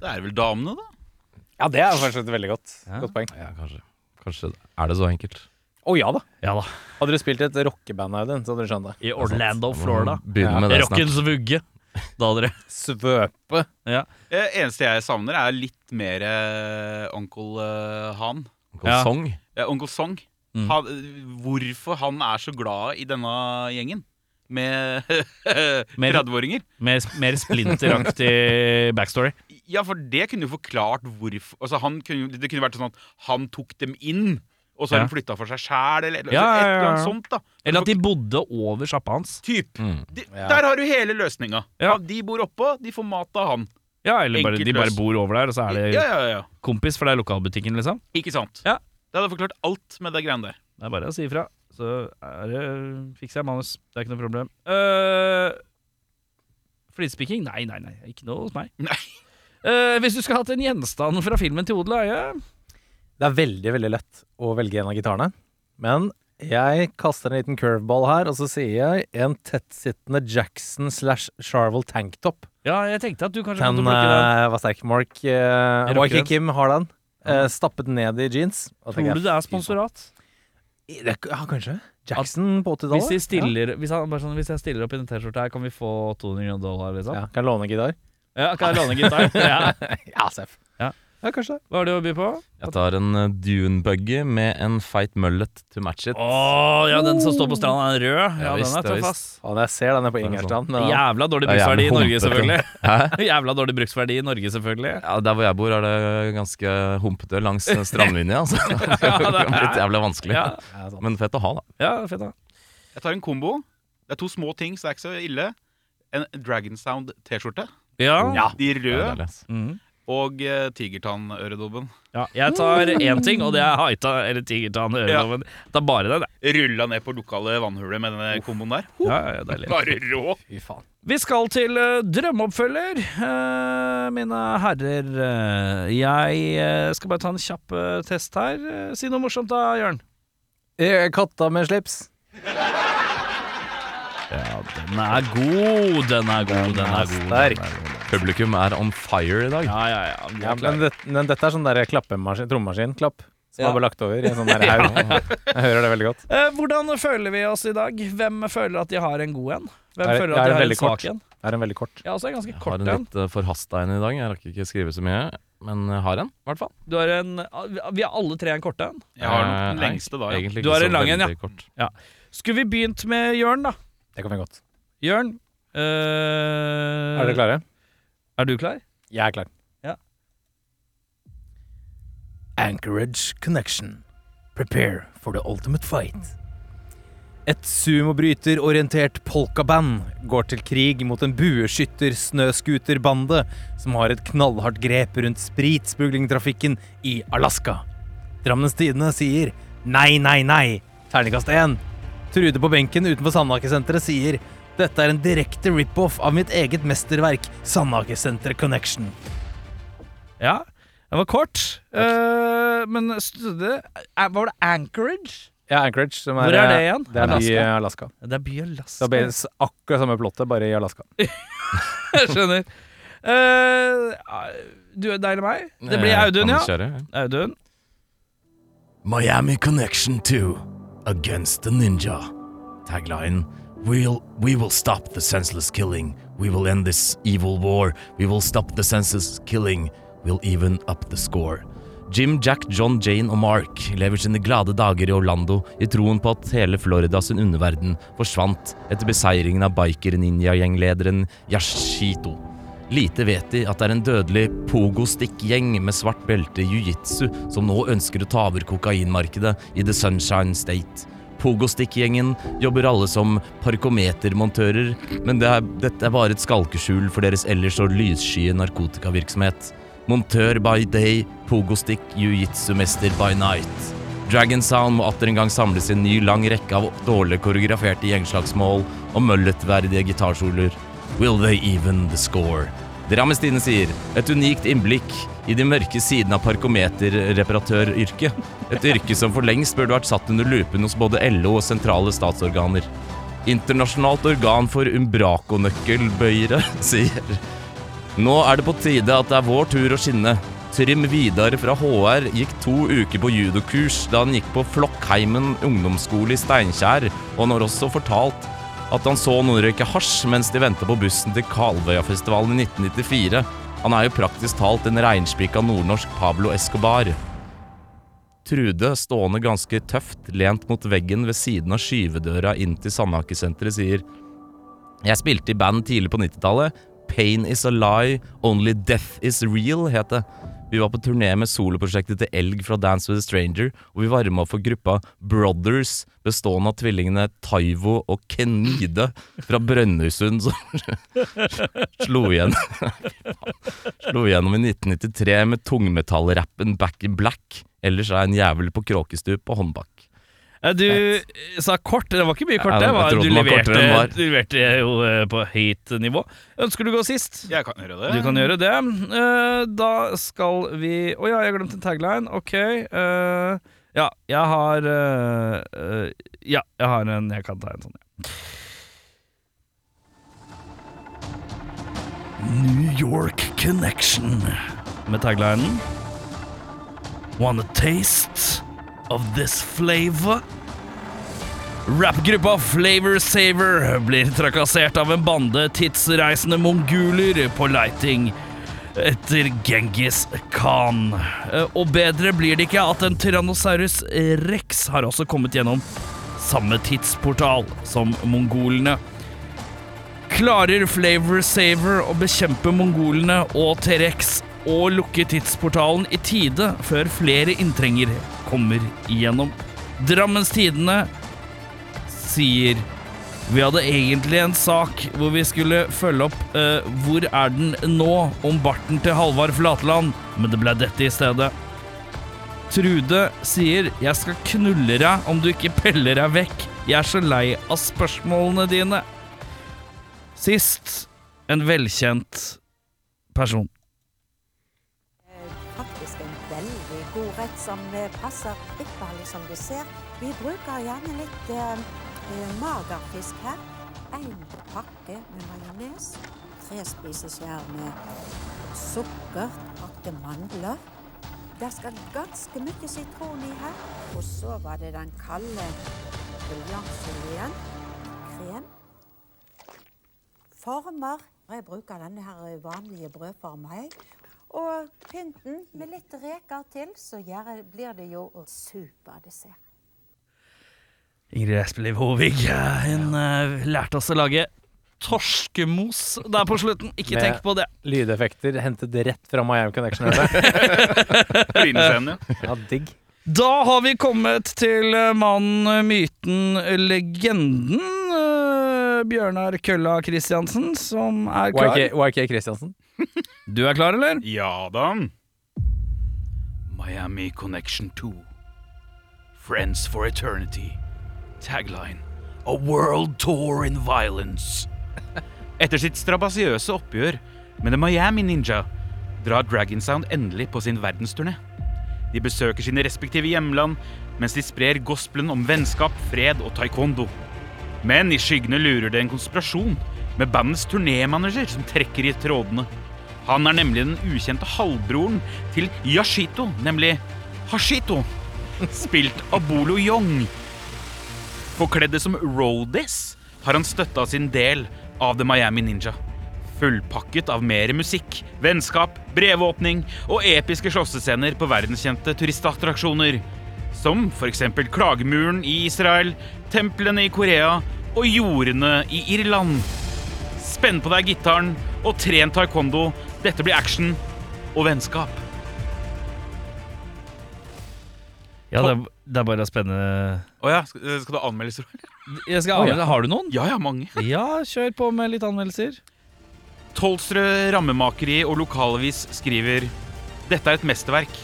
Speaker 5: Det er vel damene, da?
Speaker 3: Ja, det er kanskje et veldig godt, godt poeng.
Speaker 4: Ja, kanskje. Kanskje er det så enkelt.
Speaker 3: Å ja da.
Speaker 1: Ja da.
Speaker 3: Hadde du spilt i et rockeband, Audun, så hadde du skjønt det.
Speaker 1: I Orlando, Florida.
Speaker 4: Begynne med det snart.
Speaker 1: Rockens vugge. Da, dere.
Speaker 3: Svøpe.
Speaker 5: Eh, eneste jeg savner, er litt mer eh, onkel eh, Han.
Speaker 4: Ja. Song.
Speaker 5: Eh, onkel Song.
Speaker 1: Mm.
Speaker 5: Han, eh, hvorfor han er så glad i denne gjengen med *laughs* 30-åringer.
Speaker 1: Mer, mer splinteraktig backstory.
Speaker 5: Ja, for det kunne jo forklart hvorfor altså, han kunne, jo- Det kunne vært sånn at han tok dem inn, og så har
Speaker 1: Ja.
Speaker 5: de flytta for seg sjæl, eller, eller
Speaker 1: Ja,
Speaker 5: altså,
Speaker 1: ja, ja,
Speaker 5: et eller annet
Speaker 1: ja.
Speaker 5: sånt. da
Speaker 1: Eller at de bodde over sjappa hans.
Speaker 5: Typ.
Speaker 4: Mm.
Speaker 5: De, Der har du hele løsninga.
Speaker 1: Ja.
Speaker 5: Han- De bor oppå, de får mat av han.
Speaker 1: Ja, eller bare,
Speaker 5: Enkelt
Speaker 1: de bare
Speaker 5: løst.
Speaker 1: bor over der, og så
Speaker 5: Ja,
Speaker 1: er det
Speaker 5: ja, ja, ja.
Speaker 1: kompis, for det er lokalbutikken, liksom.
Speaker 5: Ikke sant?
Speaker 1: Ja.
Speaker 5: Det hadde forklart alt med det greiene der.
Speaker 1: Det er bare å si ifra. Så er det, fikser jeg manus. Det er ikke noe problem. Uh, Flisespikking? Nei, nei, nei. Ikke noe hos meg.
Speaker 5: Nei.
Speaker 1: Eh, hvis du skulle hatt en gjenstand fra filmen til odel og eie
Speaker 3: Det er veldig, veldig lett å velge en av gitarene. Men jeg kaster en liten curveball her, og så sier jeg en tettsittende Jackson slash Charvel tanktop.
Speaker 1: Ja, jeg tenkte at du kanskje
Speaker 3: Den
Speaker 1: måtte plukke den.
Speaker 3: eh, var sterk. Mark, eh,
Speaker 1: Jeg
Speaker 3: Mark
Speaker 1: rocker den.
Speaker 3: Kim har den. Eh, stappet ned i jeans. Da tenker
Speaker 1: Tror du
Speaker 3: jeg,
Speaker 1: det er
Speaker 3: fy
Speaker 1: sponsorat?
Speaker 3: faen. Det er- Ja, kanskje. Jackson på 80-tallet.
Speaker 1: Hvis, de stiller, hvis, han, bare sånn, hvis jeg stiller opp i den T-skjorta her, kan vi få 200 dollar,
Speaker 3: Ja.
Speaker 1: liksom?
Speaker 3: Ja, kan jeg låne gitar?
Speaker 1: Ja, kan jeg låne
Speaker 3: *laughs*
Speaker 1: gitar? ja.
Speaker 3: Ja, seff.
Speaker 1: Ja.
Speaker 3: ja, kanskje det.
Speaker 1: Hva har du å by på?
Speaker 4: Jeg tar en eh, dune buggy med en feit mullet to match it.
Speaker 1: Å, ja, den som står på stranda, den røde. Ja,
Speaker 4: Ja, visst,
Speaker 1: den er
Speaker 4: ja,
Speaker 1: tøff,
Speaker 4: visst.
Speaker 1: ass.
Speaker 3: Faen, jeg ser den er på
Speaker 4: er sånn.
Speaker 3: Ingerstrand. men-
Speaker 1: Jævla dårlig
Speaker 4: Det er
Speaker 1: bruksverdi i
Speaker 4: jævlig
Speaker 1: Norge,
Speaker 4: humpete.
Speaker 1: selvfølgelig.
Speaker 4: Hæ?
Speaker 1: *laughs* Jævla dårlig bruksverdi i Norge, selvfølgelig.
Speaker 4: Ja, der hvor jeg bor, er det ganske
Speaker 1: *laughs*
Speaker 4: humpete langs eh, strandlinja. Altså. *laughs* Det kan bli jævlig vanskelig.
Speaker 1: Ja,
Speaker 3: Ja, sånn.
Speaker 4: Men fett å ha, da.
Speaker 1: ja fett da.
Speaker 5: Jeg tar en kombo. Det er to små ting, så det er ikke så ille. En Dragon Sound-T-skjorte.
Speaker 1: Ja.
Speaker 5: De
Speaker 4: Det er
Speaker 5: røde.
Speaker 4: deilig, ass.
Speaker 1: Mhm.
Speaker 5: og uh, tigertannøredobben.
Speaker 1: ja. Jeg tar én ting, og det er haita eller tigertann.
Speaker 5: Ja.
Speaker 1: Ja. Det er bare den, jeg.
Speaker 5: Rulla ned på lokale vannhulet med denne komboen der.
Speaker 1: Ja, ja, deilig.
Speaker 5: Bare rå!
Speaker 3: Fy faen.
Speaker 1: Vi skal til eh, drømmeoppfølger, eh, mine herrer. Eh, jeg eh, skal bare ta en kjapp eh, test her. Eh, si noe morsomt da, Jørn.
Speaker 3: Eh, Katta med slips.
Speaker 1: Ja, den er god, den er god, den er god.
Speaker 3: Sterk.
Speaker 4: Publikum er on fire i dag.
Speaker 1: Ja, ja, ja. vi er
Speaker 3: Ja,
Speaker 1: klare.
Speaker 3: men, det, men dette er sånn der klappemaskin, trommemaskin, klapp. Som har bare lagt over i en sånn der haug. Jeg hører det veldig godt.
Speaker 1: Eh, hvordan føler vi oss i dag? Hvem føler at de har en god en? Hvem
Speaker 3: Er-
Speaker 1: føler at de
Speaker 3: er det
Speaker 1: har en
Speaker 3: veldig kort?
Speaker 1: svak en?
Speaker 3: Det er en veldig kort.
Speaker 1: Jeg har også en ganske
Speaker 4: Jeg har
Speaker 1: kort
Speaker 4: en
Speaker 1: en.
Speaker 4: litt eh, forhasta en i dag. Jeg rakk ikke skrive så mye, men jeg har en, i hvert fall.
Speaker 1: Du har en ah, vi har alle tre en kort en.
Speaker 5: Jeg har nok den
Speaker 4: Eh, nei,
Speaker 5: lengste da, ja.
Speaker 4: egentlig
Speaker 1: Du
Speaker 4: ikke
Speaker 1: har
Speaker 4: så
Speaker 1: en lang en, ja.
Speaker 4: veldig kort.
Speaker 1: Skulle vi begynt med Jørn, da?
Speaker 3: Det kan vi godt.
Speaker 1: Jørn, eh,
Speaker 3: Er dere klare?
Speaker 1: er du klar?
Speaker 3: Jeg er klar.
Speaker 1: Ja.
Speaker 3: Anchorage Connection. Prepare for the ultimate fight. Et sumobryterorientert polkaband går til krig mot en bueskytter-snøskuterbande som har et knallhardt grep rundt spritsmuglingtrafikken i Alaska. Drammens Tidende sier nei, nei, nei. Terningkast én. Trude på benken utenfor Sandakesenteret sier dette er en direkte rip-off av mitt eget mesterverk, Sandakesenteret Connection.
Speaker 1: Ja. Den var kort, eh, men studde eh, Var det Anchorage?
Speaker 3: Ja, Anchorage. Som
Speaker 1: Hvor er det igjen?
Speaker 3: Det er
Speaker 1: Alaska.
Speaker 3: i Alaska.
Speaker 1: Det er by
Speaker 3: Det
Speaker 1: Alaska.
Speaker 3: er bare s- akkurat samme plottet, bare i Alaska.
Speaker 1: *laughs* Jeg skjønner. Eh, du er deg eller meg? Det blir
Speaker 4: Jeg
Speaker 1: Audun,
Speaker 4: Eh, kan
Speaker 1: ja.
Speaker 4: kjøre, ja.
Speaker 1: Audun.
Speaker 6: Miami Connection 2 Against the Ninja. Tagline We'll, we will stop the senseless killing. We will end this evil war. We will stop the senseless killing. We'll even up the score.
Speaker 4: Jim, Jack, John, Jane og Mark lever sine glade dager i Orlando i troen på at hele Floridas underverden forsvant etter beseiringen av biker-ninja-gjenglederen Yashito. Lite vet de at det er en dødelig pogo-stikk-gjeng med svart belte i jiu-jitsu som nå ønsker å ta over kokainmarkedet i The Sunshine State. Pogo-stikk-gjengen jobber alle som parkometermontører, men det er, dette er bare et skalkeskjul for deres ellers så lysskye narkotikavirksomhet. Montør by day, pogostick, jiu-jitsu-mester by night. Dragon Sound må atter en gang samles i en ny lang rekke av dårlig koreograferte gjengslagsmål og mølletverdige gitarsoloer. Will they even the score? Drammens Tidende sier et unikt innblikk i de mørke sidene av parkometerreparatøryrket. Et yrke som for lengst burde vært satt under lupen hos både LO og sentrale statsorganer. Internasjonalt organ for umbrakonøkkelbøyere sier nå er det på tide at det er vår tur å skinne. Trym Vidar fra HR gikk to uker på judokurs da han gikk på Flokkheimen ungdomsskole i Steinkjer, og han har også fortalt at han så noen røyke hasj mens de venta på bussen til Kalvøyafestivalen i 1994. Han er jo praktisk talt en reinspikka nordnorsk Pablo Escobar. Trude, stående ganske tøft, lent mot veggen ved siden av skyvedøra inn til Sandhakesenteret, sier jeg spilte i band tidlig på 90-tallet. Pain is a lie, only death is real, het det. Vi var på turné med soloprosjektet til Elg fra Dance with a Stranger, og vi varma opp for gruppa Brothers, bestående av tvillingene Taivo og Kenide fra Brønnøysund, som *laughs* slo igjen Slo igjennom i 1993 med tungmetallrappen Back in Black. Ellers er jeg en jævel på kråkestup og håndbak.
Speaker 1: Eh, Du eh, sa kort, det var ikke mye kort.
Speaker 4: Ja,
Speaker 1: Det
Speaker 4: jeg
Speaker 1: var,
Speaker 4: trodde
Speaker 1: du,
Speaker 4: den var
Speaker 1: leverte,
Speaker 4: kortere enn den var.
Speaker 1: du leverte jo eh, på høyt nivå. Ønsker du å gå sist?
Speaker 5: Jeg kan gjøre det.
Speaker 1: Du kan gjøre det. Eh, Da skal vi Å ja, jeg glemte en tagline. Ok. eh, ja, jeg har eh, eh, Ja, jeg har en Jeg kan ta en sånn.
Speaker 6: New York Connection.
Speaker 1: Med taglinen Wanna taste of this flavor? Rappgruppa Flavor Saver blir trakassert av en bande tidsreisende mongoler på leiting etter Genghis Khan. Eh, Og bedre blir det ikke at en Tyrannosaurus rex har også kommet gjennom samme tidsportal som mongolene. Klarer Flavor Saver å bekjempe mongolene og T-rex og lukke tidsportalen i tide før flere inntrenger kommer igjennom? Drammens Tidende sier vi hadde egentlig en sak hvor vi skulle følge opp eh, Hvor er den nå? om barten til Halvard Flatland, men det ble dette i stedet. Trude sier 'Jeg skal knulle deg om du ikke peller deg vekk'. Jeg er så lei av spørsmålene dine. Sist en velkjent person.
Speaker 8: Eh, faktisk en veldig god rett som eh, passer ypperlig som dessert. Vi bruker gjerne litt eh, eh, magerfisk her. En pakke med majones, tre spiseskjær med sukker, pakke mandler, Det skal ganske mye sitron i her. Og så var det den kalde buljongfileten. Krem. Former. Jeg bruker denne her vanlige brødformen her. Og pynten med litt reker til, så gjør- blir det jo superdessert.
Speaker 1: Ingrid Espelid Hovig eh, hun eh, lærte oss å lage torskemos der på slutten. Ikke
Speaker 3: Med-
Speaker 1: tenk på det.
Speaker 3: Lydeffekter hentet rett fra Miami Connection. *laughs* hørte jeg.
Speaker 5: Klinescenen, ja.
Speaker 3: Ja, digg.
Speaker 1: Da har vi kommet til eh, mannen, myten, eh, legenden eh, Bjørnar Kølla Kristiansen, som er klar.
Speaker 3: YK, YK Kristiansen.
Speaker 1: Du er klar, eller?
Speaker 5: Ja da. Miami Connection 2. Friends for Eternity. Tagline A World Tour in Violence. *laughs* Etter sitt strabasiøse oppgjør med The Miami Ninja drar Dragon Sound endelig på sin verdensturné. De besøker sine respektive hjemland mens de sprer gospelen om vennskap, fred og taekwondo. Men i skyggene lurer det en konspirasjon med bandets turnémanager som trekker i trådene. Han er nemlig den ukjente halvbroren til Yashito, nemlig Hashito, spilt av Bolo Young. Forkledde som roadies har han støtta sin del av The Miami Ninja. Fullpakket av mer musikk, vennskap, brevåpning og episke slåssescener på verdenskjente turistattraksjoner. Som f.eks. Klagemuren i Israel, templene i Korea og jordene i Irland. Spenn på deg gitaren og tren taekwondo. Dette blir action og vennskap.
Speaker 1: Ja, det er, det er bare å spenne
Speaker 5: Å ja, skal, skal du ha anmeldelser?
Speaker 1: Jeg skal anmelde. Har du noen?
Speaker 5: Ja ja, mange.
Speaker 1: Ja, kjør på med litt anmeldelser.
Speaker 5: Tolstrø Rammemakeri og Lokalavis skriver Dette er et mesterverk.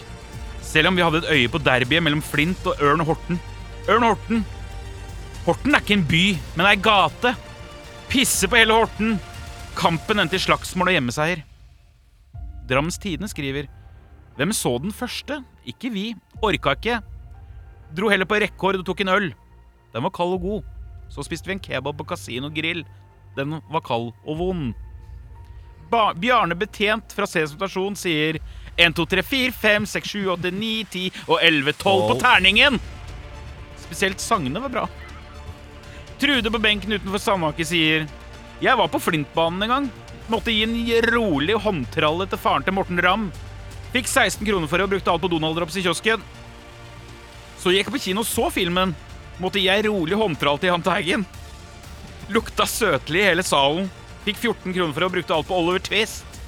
Speaker 5: Selv om vi hadde et øye på derbyet mellom Flint og Ørn og Horten. Ørn og Horten! Horten er ikke en by, men ei gate. Pisse på hele Horten! Kampen endte i slagsmål og hjemmeseier. Drammens Tidende skriver Hvem så den første? Ikke vi. Orka ikke. Dro heller på rekord og tok en øl. Den var kald og god. Så spiste vi en kebab på Casino Grill. Den var kald og vond. Ba Bjarne Betjent fra Sesam stasjon sier 1, 2, 3, 4, 5, 6, 7, 8, 9, 10 og 11, 12 på terningen! Spesielt sangene var bra. Trude på benken utenfor Sandvake sier Jeg var på Flintbanen en gang. Måtte gi en rolig håndtralle til faren til Morten Ramm. Fikk 16 kroner for det og brukte alt på Donald-drops i kiosken. Så gikk jeg på kino og så filmen. Måtte gi ei rolig håndtralle til Jahn Teigen. Lukta søtlig i hele salen. Fikk 14 kroner for å brukte alt på Oliver Twist.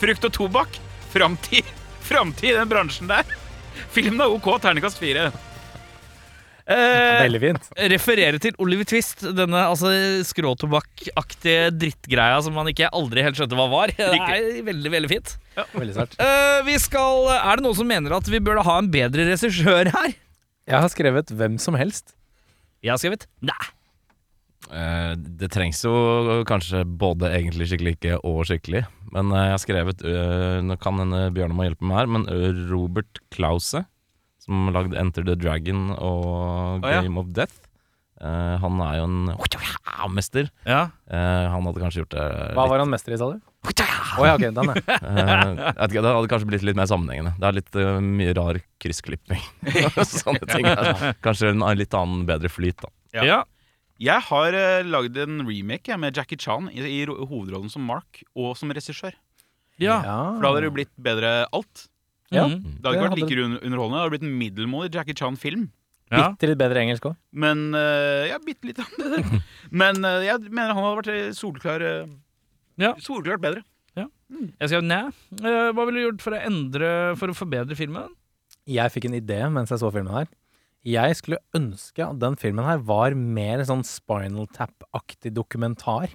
Speaker 5: Frukt og tobakk. Framtid. *laughs* Framtid i den bransjen der. Filmen er OK, terningkast fire.
Speaker 1: Eh,
Speaker 3: Veldig fint.
Speaker 1: referere til Oliver Twist, denne altså, skråtobakkaktige drittgreia som man ikke aldri helt skjønte hva var. *laughs* Det er veldig, veldig fint.
Speaker 3: Veldig sterkt.
Speaker 1: Eh, vi skal, er det noen som mener at vi burde ha en bedre regissør her?
Speaker 3: Jeg har skrevet hvem som helst.
Speaker 1: Jeg har skrevet nei.
Speaker 4: Eh, det trengs jo kanskje både egentlig skikkelig ikke og skikkelig. Men eh, jeg har skrevet eh, Nå kan hende Bjørnar må hjelpe meg her, men eh, Robert Klause, som lagde 'Enter the Dragon' og
Speaker 5: Å, ja.
Speaker 4: 'Game of Death', eh, han er jo en mester.
Speaker 1: Ja.
Speaker 4: Eh, han hadde kanskje gjort det
Speaker 3: Hva var han mester i, sa du? Å ja, ok, den er.
Speaker 4: Eh, jeg vet ikke, det hadde kanskje blitt litt mer sammenhengende. Det er litt eh, mye rar kryssklipping. Sånne ting er Kanskje en litt annen, bedre flyt, da.
Speaker 5: Ja. Jeg har uh, lagd en remake jeg, med Jackie Chan i, i ro- hovedrollen som Mark og som regissør.
Speaker 1: Ja.
Speaker 5: For da hadde det jo blitt bedre alt.
Speaker 3: Ja.
Speaker 1: Mhm.
Speaker 5: Det hadde
Speaker 3: Det
Speaker 5: ikke vært
Speaker 3: hadde-
Speaker 5: like un- underholdende. Det hadde blitt en middelmådig Jackie Chan-film.
Speaker 1: Ja.
Speaker 3: Bitte litt bedre engelsk òg.
Speaker 5: Men eh, ja, bitte litt
Speaker 3: *laughs*
Speaker 5: Men eh, jeg mener han hadde vært eh, soleklar eh,
Speaker 1: Ja.
Speaker 5: Soleklart bedre.
Speaker 1: Jeg skrev nei. Eh, hva ville du gjort for å endre For å forbedre filmen?
Speaker 3: Jeg fikk en idé mens jeg så filmen her. Jeg skulle ønske at den filmen her var mer sånn Spinal Tap-aktig dokumentar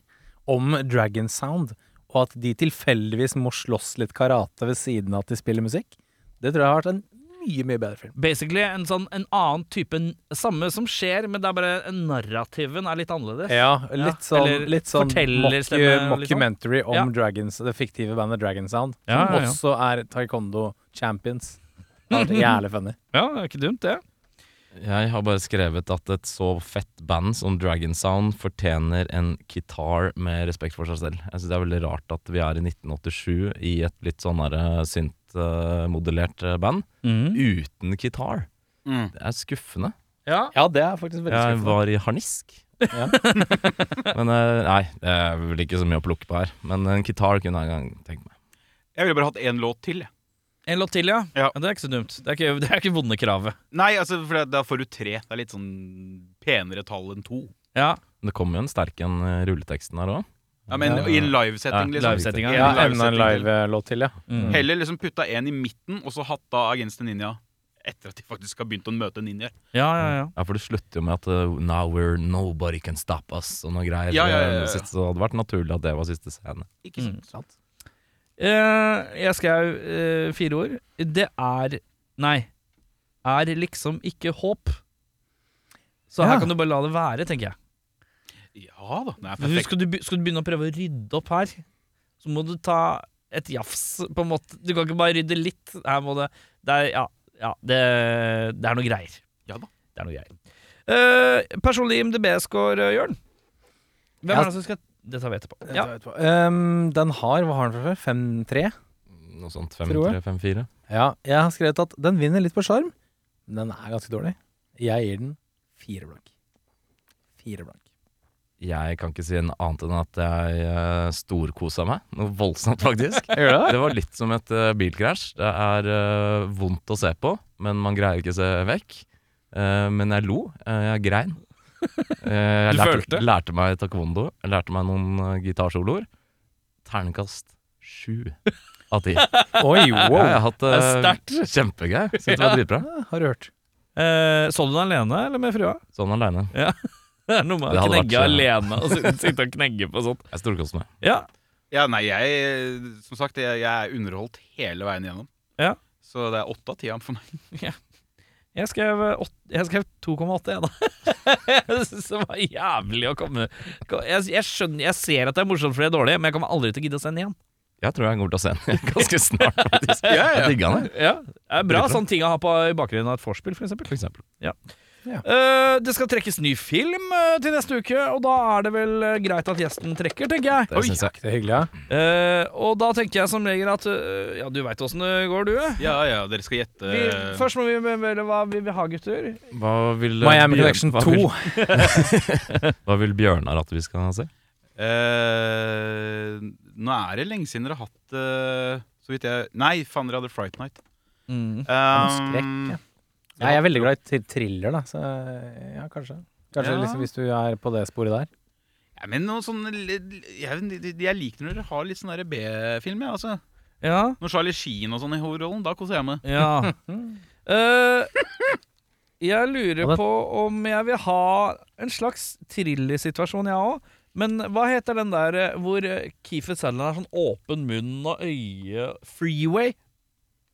Speaker 3: om Dragon Sound, og at de tilfeldigvis må slåss litt karate ved siden av at de spiller musikk. Det tror jeg har vært en mye, mye bedre film.
Speaker 1: Basically en sånn en annen type n- Samme som skjer, men det er bare narrativen er litt annerledes.
Speaker 3: Ja, litt sånn,
Speaker 1: eller
Speaker 3: litt sånn
Speaker 1: fortellerstemme,
Speaker 3: mock-
Speaker 1: liksom.
Speaker 3: mockumentary om
Speaker 1: Ja.
Speaker 3: Dragons, det fiktive bandet Dragon Sound, som
Speaker 1: Ja, ja, ja.
Speaker 3: også er taekwondo champions. Det har vært jævlig funny.
Speaker 1: Ja, det er ikke dumt, det.
Speaker 4: Jeg har bare skrevet at et så fett band som Dragon Sound fortjener en gitar med respekt for seg selv. Jeg synes Det er veldig rart at vi er i 1987 i et litt sånn derre synt-modellert eh, band uten gitar.
Speaker 5: Mm.
Speaker 4: Det er skuffende.
Speaker 5: Ja.
Speaker 3: Ja, det er faktisk veldig
Speaker 4: Jeg
Speaker 3: skuffende.
Speaker 4: var i harnisk. *laughs* Men eh, nei, det er vel ikke så mye å plukke på her. Men en gitar kunne jeg en gang tenkt meg.
Speaker 5: Jeg ville bare hatt én låt til. jeg.
Speaker 1: En låt til, ja.
Speaker 5: Ja.
Speaker 1: ja? Det er ikke så dumt. Det er ikke, det er ikke vonde kravet.
Speaker 5: Nei, altså, for da- da får du tre. Det er litt sånn penere tall enn to.
Speaker 1: Ja,
Speaker 4: Men det kommer jo en sterk en i rulleteksten her òg.
Speaker 5: Ja, men I en livesetting,
Speaker 4: Ja,
Speaker 5: liksom.
Speaker 1: livesettinga.
Speaker 5: En
Speaker 3: Ja, enda en
Speaker 5: livesetting til.
Speaker 3: live-låt til, ja.
Speaker 1: Mm.
Speaker 5: Heller liksom putta en i midten, og så hatt da Against the Ninja etter at de faktisk har begynt å møte ninjaer.
Speaker 1: ja, ja. ja.
Speaker 4: Ja, for det slutter jo med at eh, Now we're nobody can stop us og noe greier.
Speaker 5: Ja, ja, ja, ja, ja.
Speaker 4: Eh, Sist, så hadde det vært naturlig at det var siste scene.
Speaker 5: Ikke sant?
Speaker 1: Eh, jeg skrev eh, fire ord. Det er Nei. Er liksom ikke håp. Så her
Speaker 3: Ja.
Speaker 1: kan du bare la det være, tenker jeg.
Speaker 5: Ja da. Det er
Speaker 1: For
Speaker 5: perfekt.
Speaker 1: Skal du, be- skal du begynne å prøve å rydde opp her, så må du ta et jafs, på en måte. Du kan ikke bare rydde litt. Her må det Det er, ja, ja det, det er noe greier.
Speaker 5: Ja da.
Speaker 1: Det er noe greier. Eh, personlig IMDb-score, Jørn. Hvem
Speaker 3: Ja.
Speaker 1: er det som skal Det tar vi etterpå. Ja.
Speaker 3: Ehm, den har Hva har den for før? 5-3?
Speaker 4: Noe sånt
Speaker 3: Tror
Speaker 4: 5-3-5-4.
Speaker 3: Ja. Jeg har skrevet at den vinner litt på sjarm, men den er ganske dårlig. Jeg gir den fire blank. Fire blank.
Speaker 4: Jeg kan ikke si en annet enn at jeg eh, storkosa meg. Noe voldsomt, faktisk.
Speaker 3: Gjør det?
Speaker 4: Det var litt som et eh, bilkrasj. Det er eh, vondt å se på, men man greier ikke å se vekk. Eh, men jeg lo. Eh, jeg grein. Eh, jeg
Speaker 1: Du
Speaker 4: lærte,
Speaker 1: følte?
Speaker 4: lærte meg taekwondo. Jeg lærte meg noen uh, gitarsoloer. Ternekast sju av ti. Ja,
Speaker 3: Oi, wow.
Speaker 4: jeg har hatt det
Speaker 1: Det
Speaker 4: kjempegøy. Syns det var dritbra.
Speaker 3: Ja, Har du hørt.
Speaker 1: Eh, så du den alene, eller med frua? *laughs*
Speaker 4: Sånn aleine.
Speaker 1: Det er noe med
Speaker 4: Det
Speaker 1: å
Speaker 4: hadde
Speaker 1: knegge
Speaker 4: vært-
Speaker 1: alene og sitte- sitte og knegge på sånt.
Speaker 4: Jeg storkoste meg.
Speaker 1: Ja,
Speaker 5: Ja, nei, jeg Som sagt, jeg, jeg er underholdt hele veien igjennom.
Speaker 1: Ja.
Speaker 5: Så det er åtte av ti for meg.
Speaker 1: jeg skrev, eh, åt- jeg skrev 2,8 jeg da. *laughs* Jeg synes det var jævlig å komme jeg, jeg skjønner, jeg ser at det er morsomt for det er dårlig, men jeg kommer aldri til å gidde å se den igjen.
Speaker 4: Jeg tror jeg kommer til å se den ganske snart, faktisk. Jeg digga den.
Speaker 1: Ja, det er bra sånne ting å ha på, i bakgrunnen av et vorspiel, for eksempel.
Speaker 4: For eksempel.
Speaker 1: Eh, det skal trekkes ny film eh, til neste uke, og da er det vel eh, greit at gjesten trekker, tenker jeg.
Speaker 4: Det syns jeg.
Speaker 3: Det er hyggelig, ja.
Speaker 1: Eh, og da tenker jeg som regel at eh, Ja, du veit åssen det går, du. eh.
Speaker 5: Ja, ja, dere skal gjette
Speaker 1: Vi, først må vi velge hva vi vil ha, gutter.
Speaker 4: Hva
Speaker 1: eh,
Speaker 4: vil
Speaker 3: Miami
Speaker 4: Bjørn-
Speaker 3: Connection
Speaker 4: hva
Speaker 3: 2.
Speaker 4: vil- Hva vil Bjørnar at vi skal se?
Speaker 5: Eh, Nå er det lenge siden dere har hatt eh, Så vidt jeg Nei, faen, dere hadde Fright Night.
Speaker 3: skrekk, ja.
Speaker 5: Um,
Speaker 3: Ja, jeg er veldig glad i thr- thriller, da, så ja, kanskje. Kanskje
Speaker 5: Ja.
Speaker 3: liksom, hvis du er på det sporet der.
Speaker 5: ja, men noe sånn jeg, jeg liker når dere har litt sånn der B-film, jeg, altså.
Speaker 1: Ja.
Speaker 5: Når Charlie Sheen og sånn i hovedrollen, da koser jeg meg.
Speaker 1: Ja.
Speaker 3: *laughs*
Speaker 1: Eh, jeg lurer
Speaker 3: Og det-
Speaker 1: på om jeg vil ha en slags thrillersituasjon, jeg òg. Men hva heter den der eh, hvor eh, Keefer Sutherland har sånn åpen munn og øye Freeway?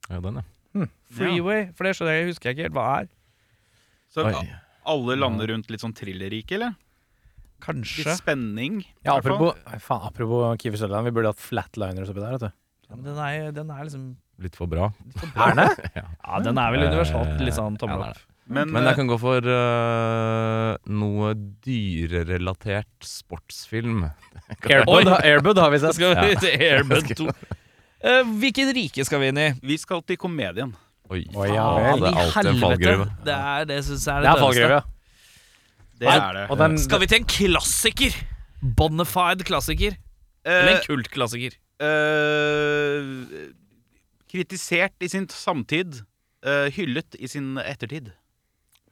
Speaker 4: Ja, den, ja.
Speaker 1: Freeway, For det skjønner jeg, husker jeg ikke helt hva er.
Speaker 5: Så
Speaker 4: Oi.
Speaker 5: a- alle lander rundt litt sånn thrillerrike, eller? Litt
Speaker 1: Kanskje.
Speaker 5: spenning.
Speaker 3: Ja,
Speaker 5: i hvert fall.
Speaker 3: apropos, Nei, faen, apropos Kiefer Sutherland, vi burde hatt flatliners oppi der, vet du.
Speaker 1: Ja, men den, er, den er liksom
Speaker 4: Litt for bra.
Speaker 3: Er det? *laughs*
Speaker 1: Ja, den er vel universalt litt sånn
Speaker 4: Ja,
Speaker 1: tommel
Speaker 4: det er
Speaker 1: opp.
Speaker 4: det.
Speaker 5: Men,
Speaker 4: Men jeg
Speaker 5: eh,
Speaker 4: kan gå for eh, noe dyrerelatert sportsfilm.
Speaker 3: *laughs* Airbud, har- Airbud har vi
Speaker 1: Da
Speaker 3: sett.
Speaker 1: skal vi til Airbud 2. Eh, hvilket rike skal vi inn i?
Speaker 5: vi skal til komedien.
Speaker 4: Oi,
Speaker 3: Å, ja vel.
Speaker 4: faen, det er alltid en fallgruve.
Speaker 1: Det er det synes jeg er
Speaker 3: Det
Speaker 1: det
Speaker 3: er fallgruve, ja.
Speaker 5: Det er det.
Speaker 3: Og den,
Speaker 1: Skal vi til en klassiker? Bonified klassiker. Eller en kultklassiker.
Speaker 5: Eh, eh, kritisert i sin samtid, eh, hyllet i sin ettertid.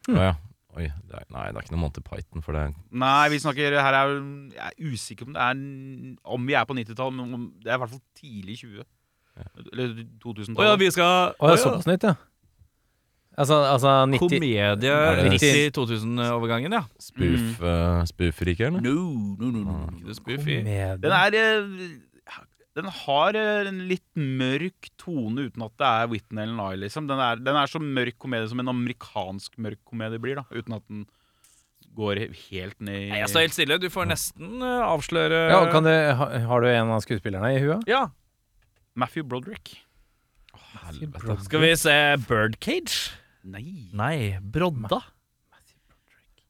Speaker 4: Å, ja. Oi, det er, nei, det er ikke noe Monty Python for det.
Speaker 5: Nei, vi snakker her er Jeg er usikker om det er n- Om vi er på 90-tall, men om, det er i hvert fall tidlig 20. Eller 2000-tallet.
Speaker 1: vi skal
Speaker 3: Å, det er såpass nytt, ja. sånn Altså, altså 90
Speaker 1: Komedie
Speaker 4: Er det-
Speaker 1: 90-2000-overgangen, ja.
Speaker 4: Spoof, eh, Spoofrike, eller?
Speaker 5: no, no, no, no, no.
Speaker 1: Ikke Mm. det spoofy.
Speaker 5: Den er eh, Den har eh, en litt mørk tone uten at det er Whitney eller Nye, liksom. Den er, den er så mørk komedie som en amerikansk mørk komedie blir, da. Uten at den går he- helt ned i
Speaker 1: Nei, altså, Jeg står helt stille. Du får nesten eh, avsløre
Speaker 3: altså- ja, kan du, ha- Har du en av skuespillerne i *laughs* huet?
Speaker 1: Ja.
Speaker 5: Matthew Broderick.
Speaker 4: Helvete.
Speaker 1: Skal vi se Birdcage?
Speaker 5: Nei.
Speaker 1: Nei, Brodda. eh,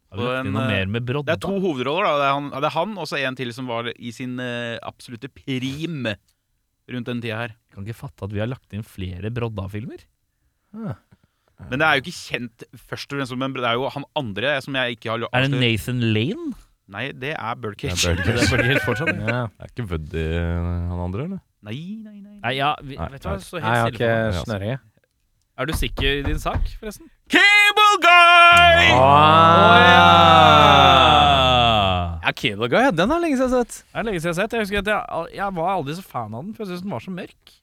Speaker 1: Har vi lagt inn noe mer med Brodda?
Speaker 5: eh, Det er to hovedroller. da Det er han, det er han og så en til som var i sin eh, absolutte prim rundt den tida her.
Speaker 1: Jeg kan ikke fatte at vi har lagt inn flere Brodda-filmer.
Speaker 5: Men det er jo ikke kjent først og fremst som en Det er jo han andre som jeg ikke har altså,
Speaker 1: Er det Nathan *laughs* Lane?
Speaker 5: Nei, det er
Speaker 4: *laughs*
Speaker 5: Birdcage.
Speaker 4: Det er
Speaker 1: Det er
Speaker 4: Birdcage.
Speaker 1: fordi helt fortsatt.
Speaker 3: Ja.
Speaker 4: Er ikke Buddy eh, han andre, eller?
Speaker 5: *laughs* Nei, nei, nei.
Speaker 1: Nei, ja, vi,
Speaker 4: Nei,
Speaker 1: vet du hva,
Speaker 4: nei.
Speaker 1: så
Speaker 3: Nei, jeg har
Speaker 1: helt
Speaker 3: ikke
Speaker 1: stille for meg.
Speaker 3: snøring. jeg.
Speaker 1: Er du sikker i din sak, forresten?
Speaker 5: Cable Guy!
Speaker 1: Ah.
Speaker 3: Ja, Cable Guy, ja, den har lenge siden jeg har sett.
Speaker 1: Det er lenge siden jeg har sett. Jeg husker at jeg, jeg var aldri så fan av den, for jeg syntes den var så mørk.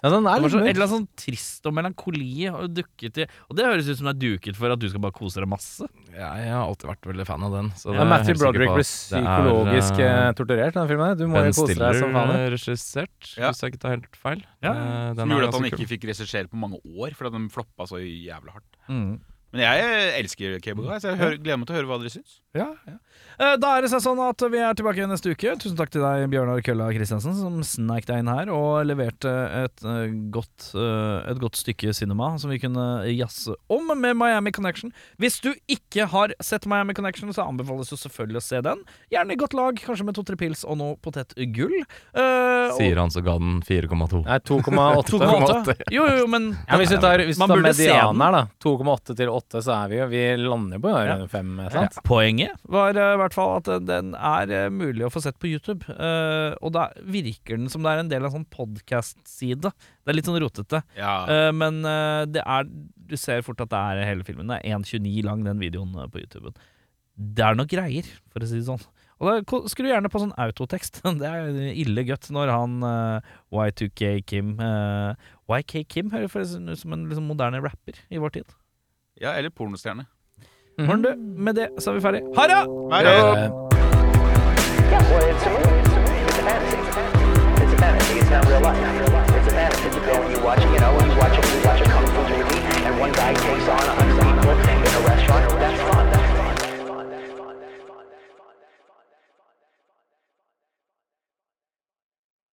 Speaker 3: Ja, den
Speaker 1: Det
Speaker 3: er
Speaker 1: var
Speaker 3: litt
Speaker 1: så, et
Speaker 3: mørk.
Speaker 1: eller annet sånn trist og melankoli og dukket i Og det høres ut som det er duket for at du skal bare kose deg masse.
Speaker 4: Ja, jeg har alltid vært veldig fan av den. Så
Speaker 3: Ja, Matthew Broderick ble psykologisk eh,
Speaker 4: er,
Speaker 3: torturert i den filmen. her. Du
Speaker 4: eh,
Speaker 3: må
Speaker 4: Ben
Speaker 3: jo kose deg
Speaker 4: Stiller
Speaker 3: som faen.
Speaker 4: eh, regissert,
Speaker 5: Ja.
Speaker 4: hvis jeg ikke tar helt feil.
Speaker 1: Ja,
Speaker 4: Eh, den
Speaker 5: Som
Speaker 4: er
Speaker 5: gjorde at han
Speaker 4: ganske
Speaker 5: ikke
Speaker 4: kul.
Speaker 5: fikk regissere på mange år, fordi den floppa så jævla hardt.
Speaker 1: Mm.
Speaker 5: Men jeg elsker Cable Guy, så jeg hører, gleder meg til å høre hva dere syns.
Speaker 1: Ja, ja. Eh, Da er det seg sånn at vi er tilbake neste uke. Tusen takk til deg, Bjørnar Kølla Kristiansen, som sneik deg inn her og leverte et, eh, godt, eh, et godt stykke cinema som vi kunne jazze om med Miami Connection. Hvis du ikke har sett Miami Connection, så anbefales jo selvfølgelig å se den. Gjerne i godt lag, kanskje med to-tre pils og noe potetgull. Eh, og-
Speaker 4: Sier han så ga den 4,2.
Speaker 1: *laughs*
Speaker 3: Nei, 2,8.
Speaker 1: 2,8. Jo, jo, jo, men
Speaker 3: Ja, men hvis du tar, hvis du
Speaker 1: Man
Speaker 3: tar
Speaker 1: burde se
Speaker 3: medianen her, da. 2,8 til 8, så er vi jo Vi lander jo på
Speaker 1: Ja.
Speaker 3: 5, sant?
Speaker 1: Poenget var eh, i hvert fall at eh, den er eh, mulig å få sett på YouTube. eh, og da virker den som det er en del av en sånn podkast-side. Det er litt sånn rotete.
Speaker 5: Ja.
Speaker 1: eh, men eh, det er du ser fort at det er hele filmen. Det er 1,29 lang, den videoen eh, på YouTuben. Det er nok greier, for å si det sånn. Og da ko- skru gjerne på sånn autotekst. *laughs* Det er ille gøtt når han eh, Y2K Kim eh, YK Kim høres forresten ut som en liksom, moderne rapper i vår tid.
Speaker 5: ja, eller pornostjerne.
Speaker 1: Morn, du. Med det så er vi ferdig. Ha det!
Speaker 5: Her er-
Speaker 2: Yeah, well, it's a movie.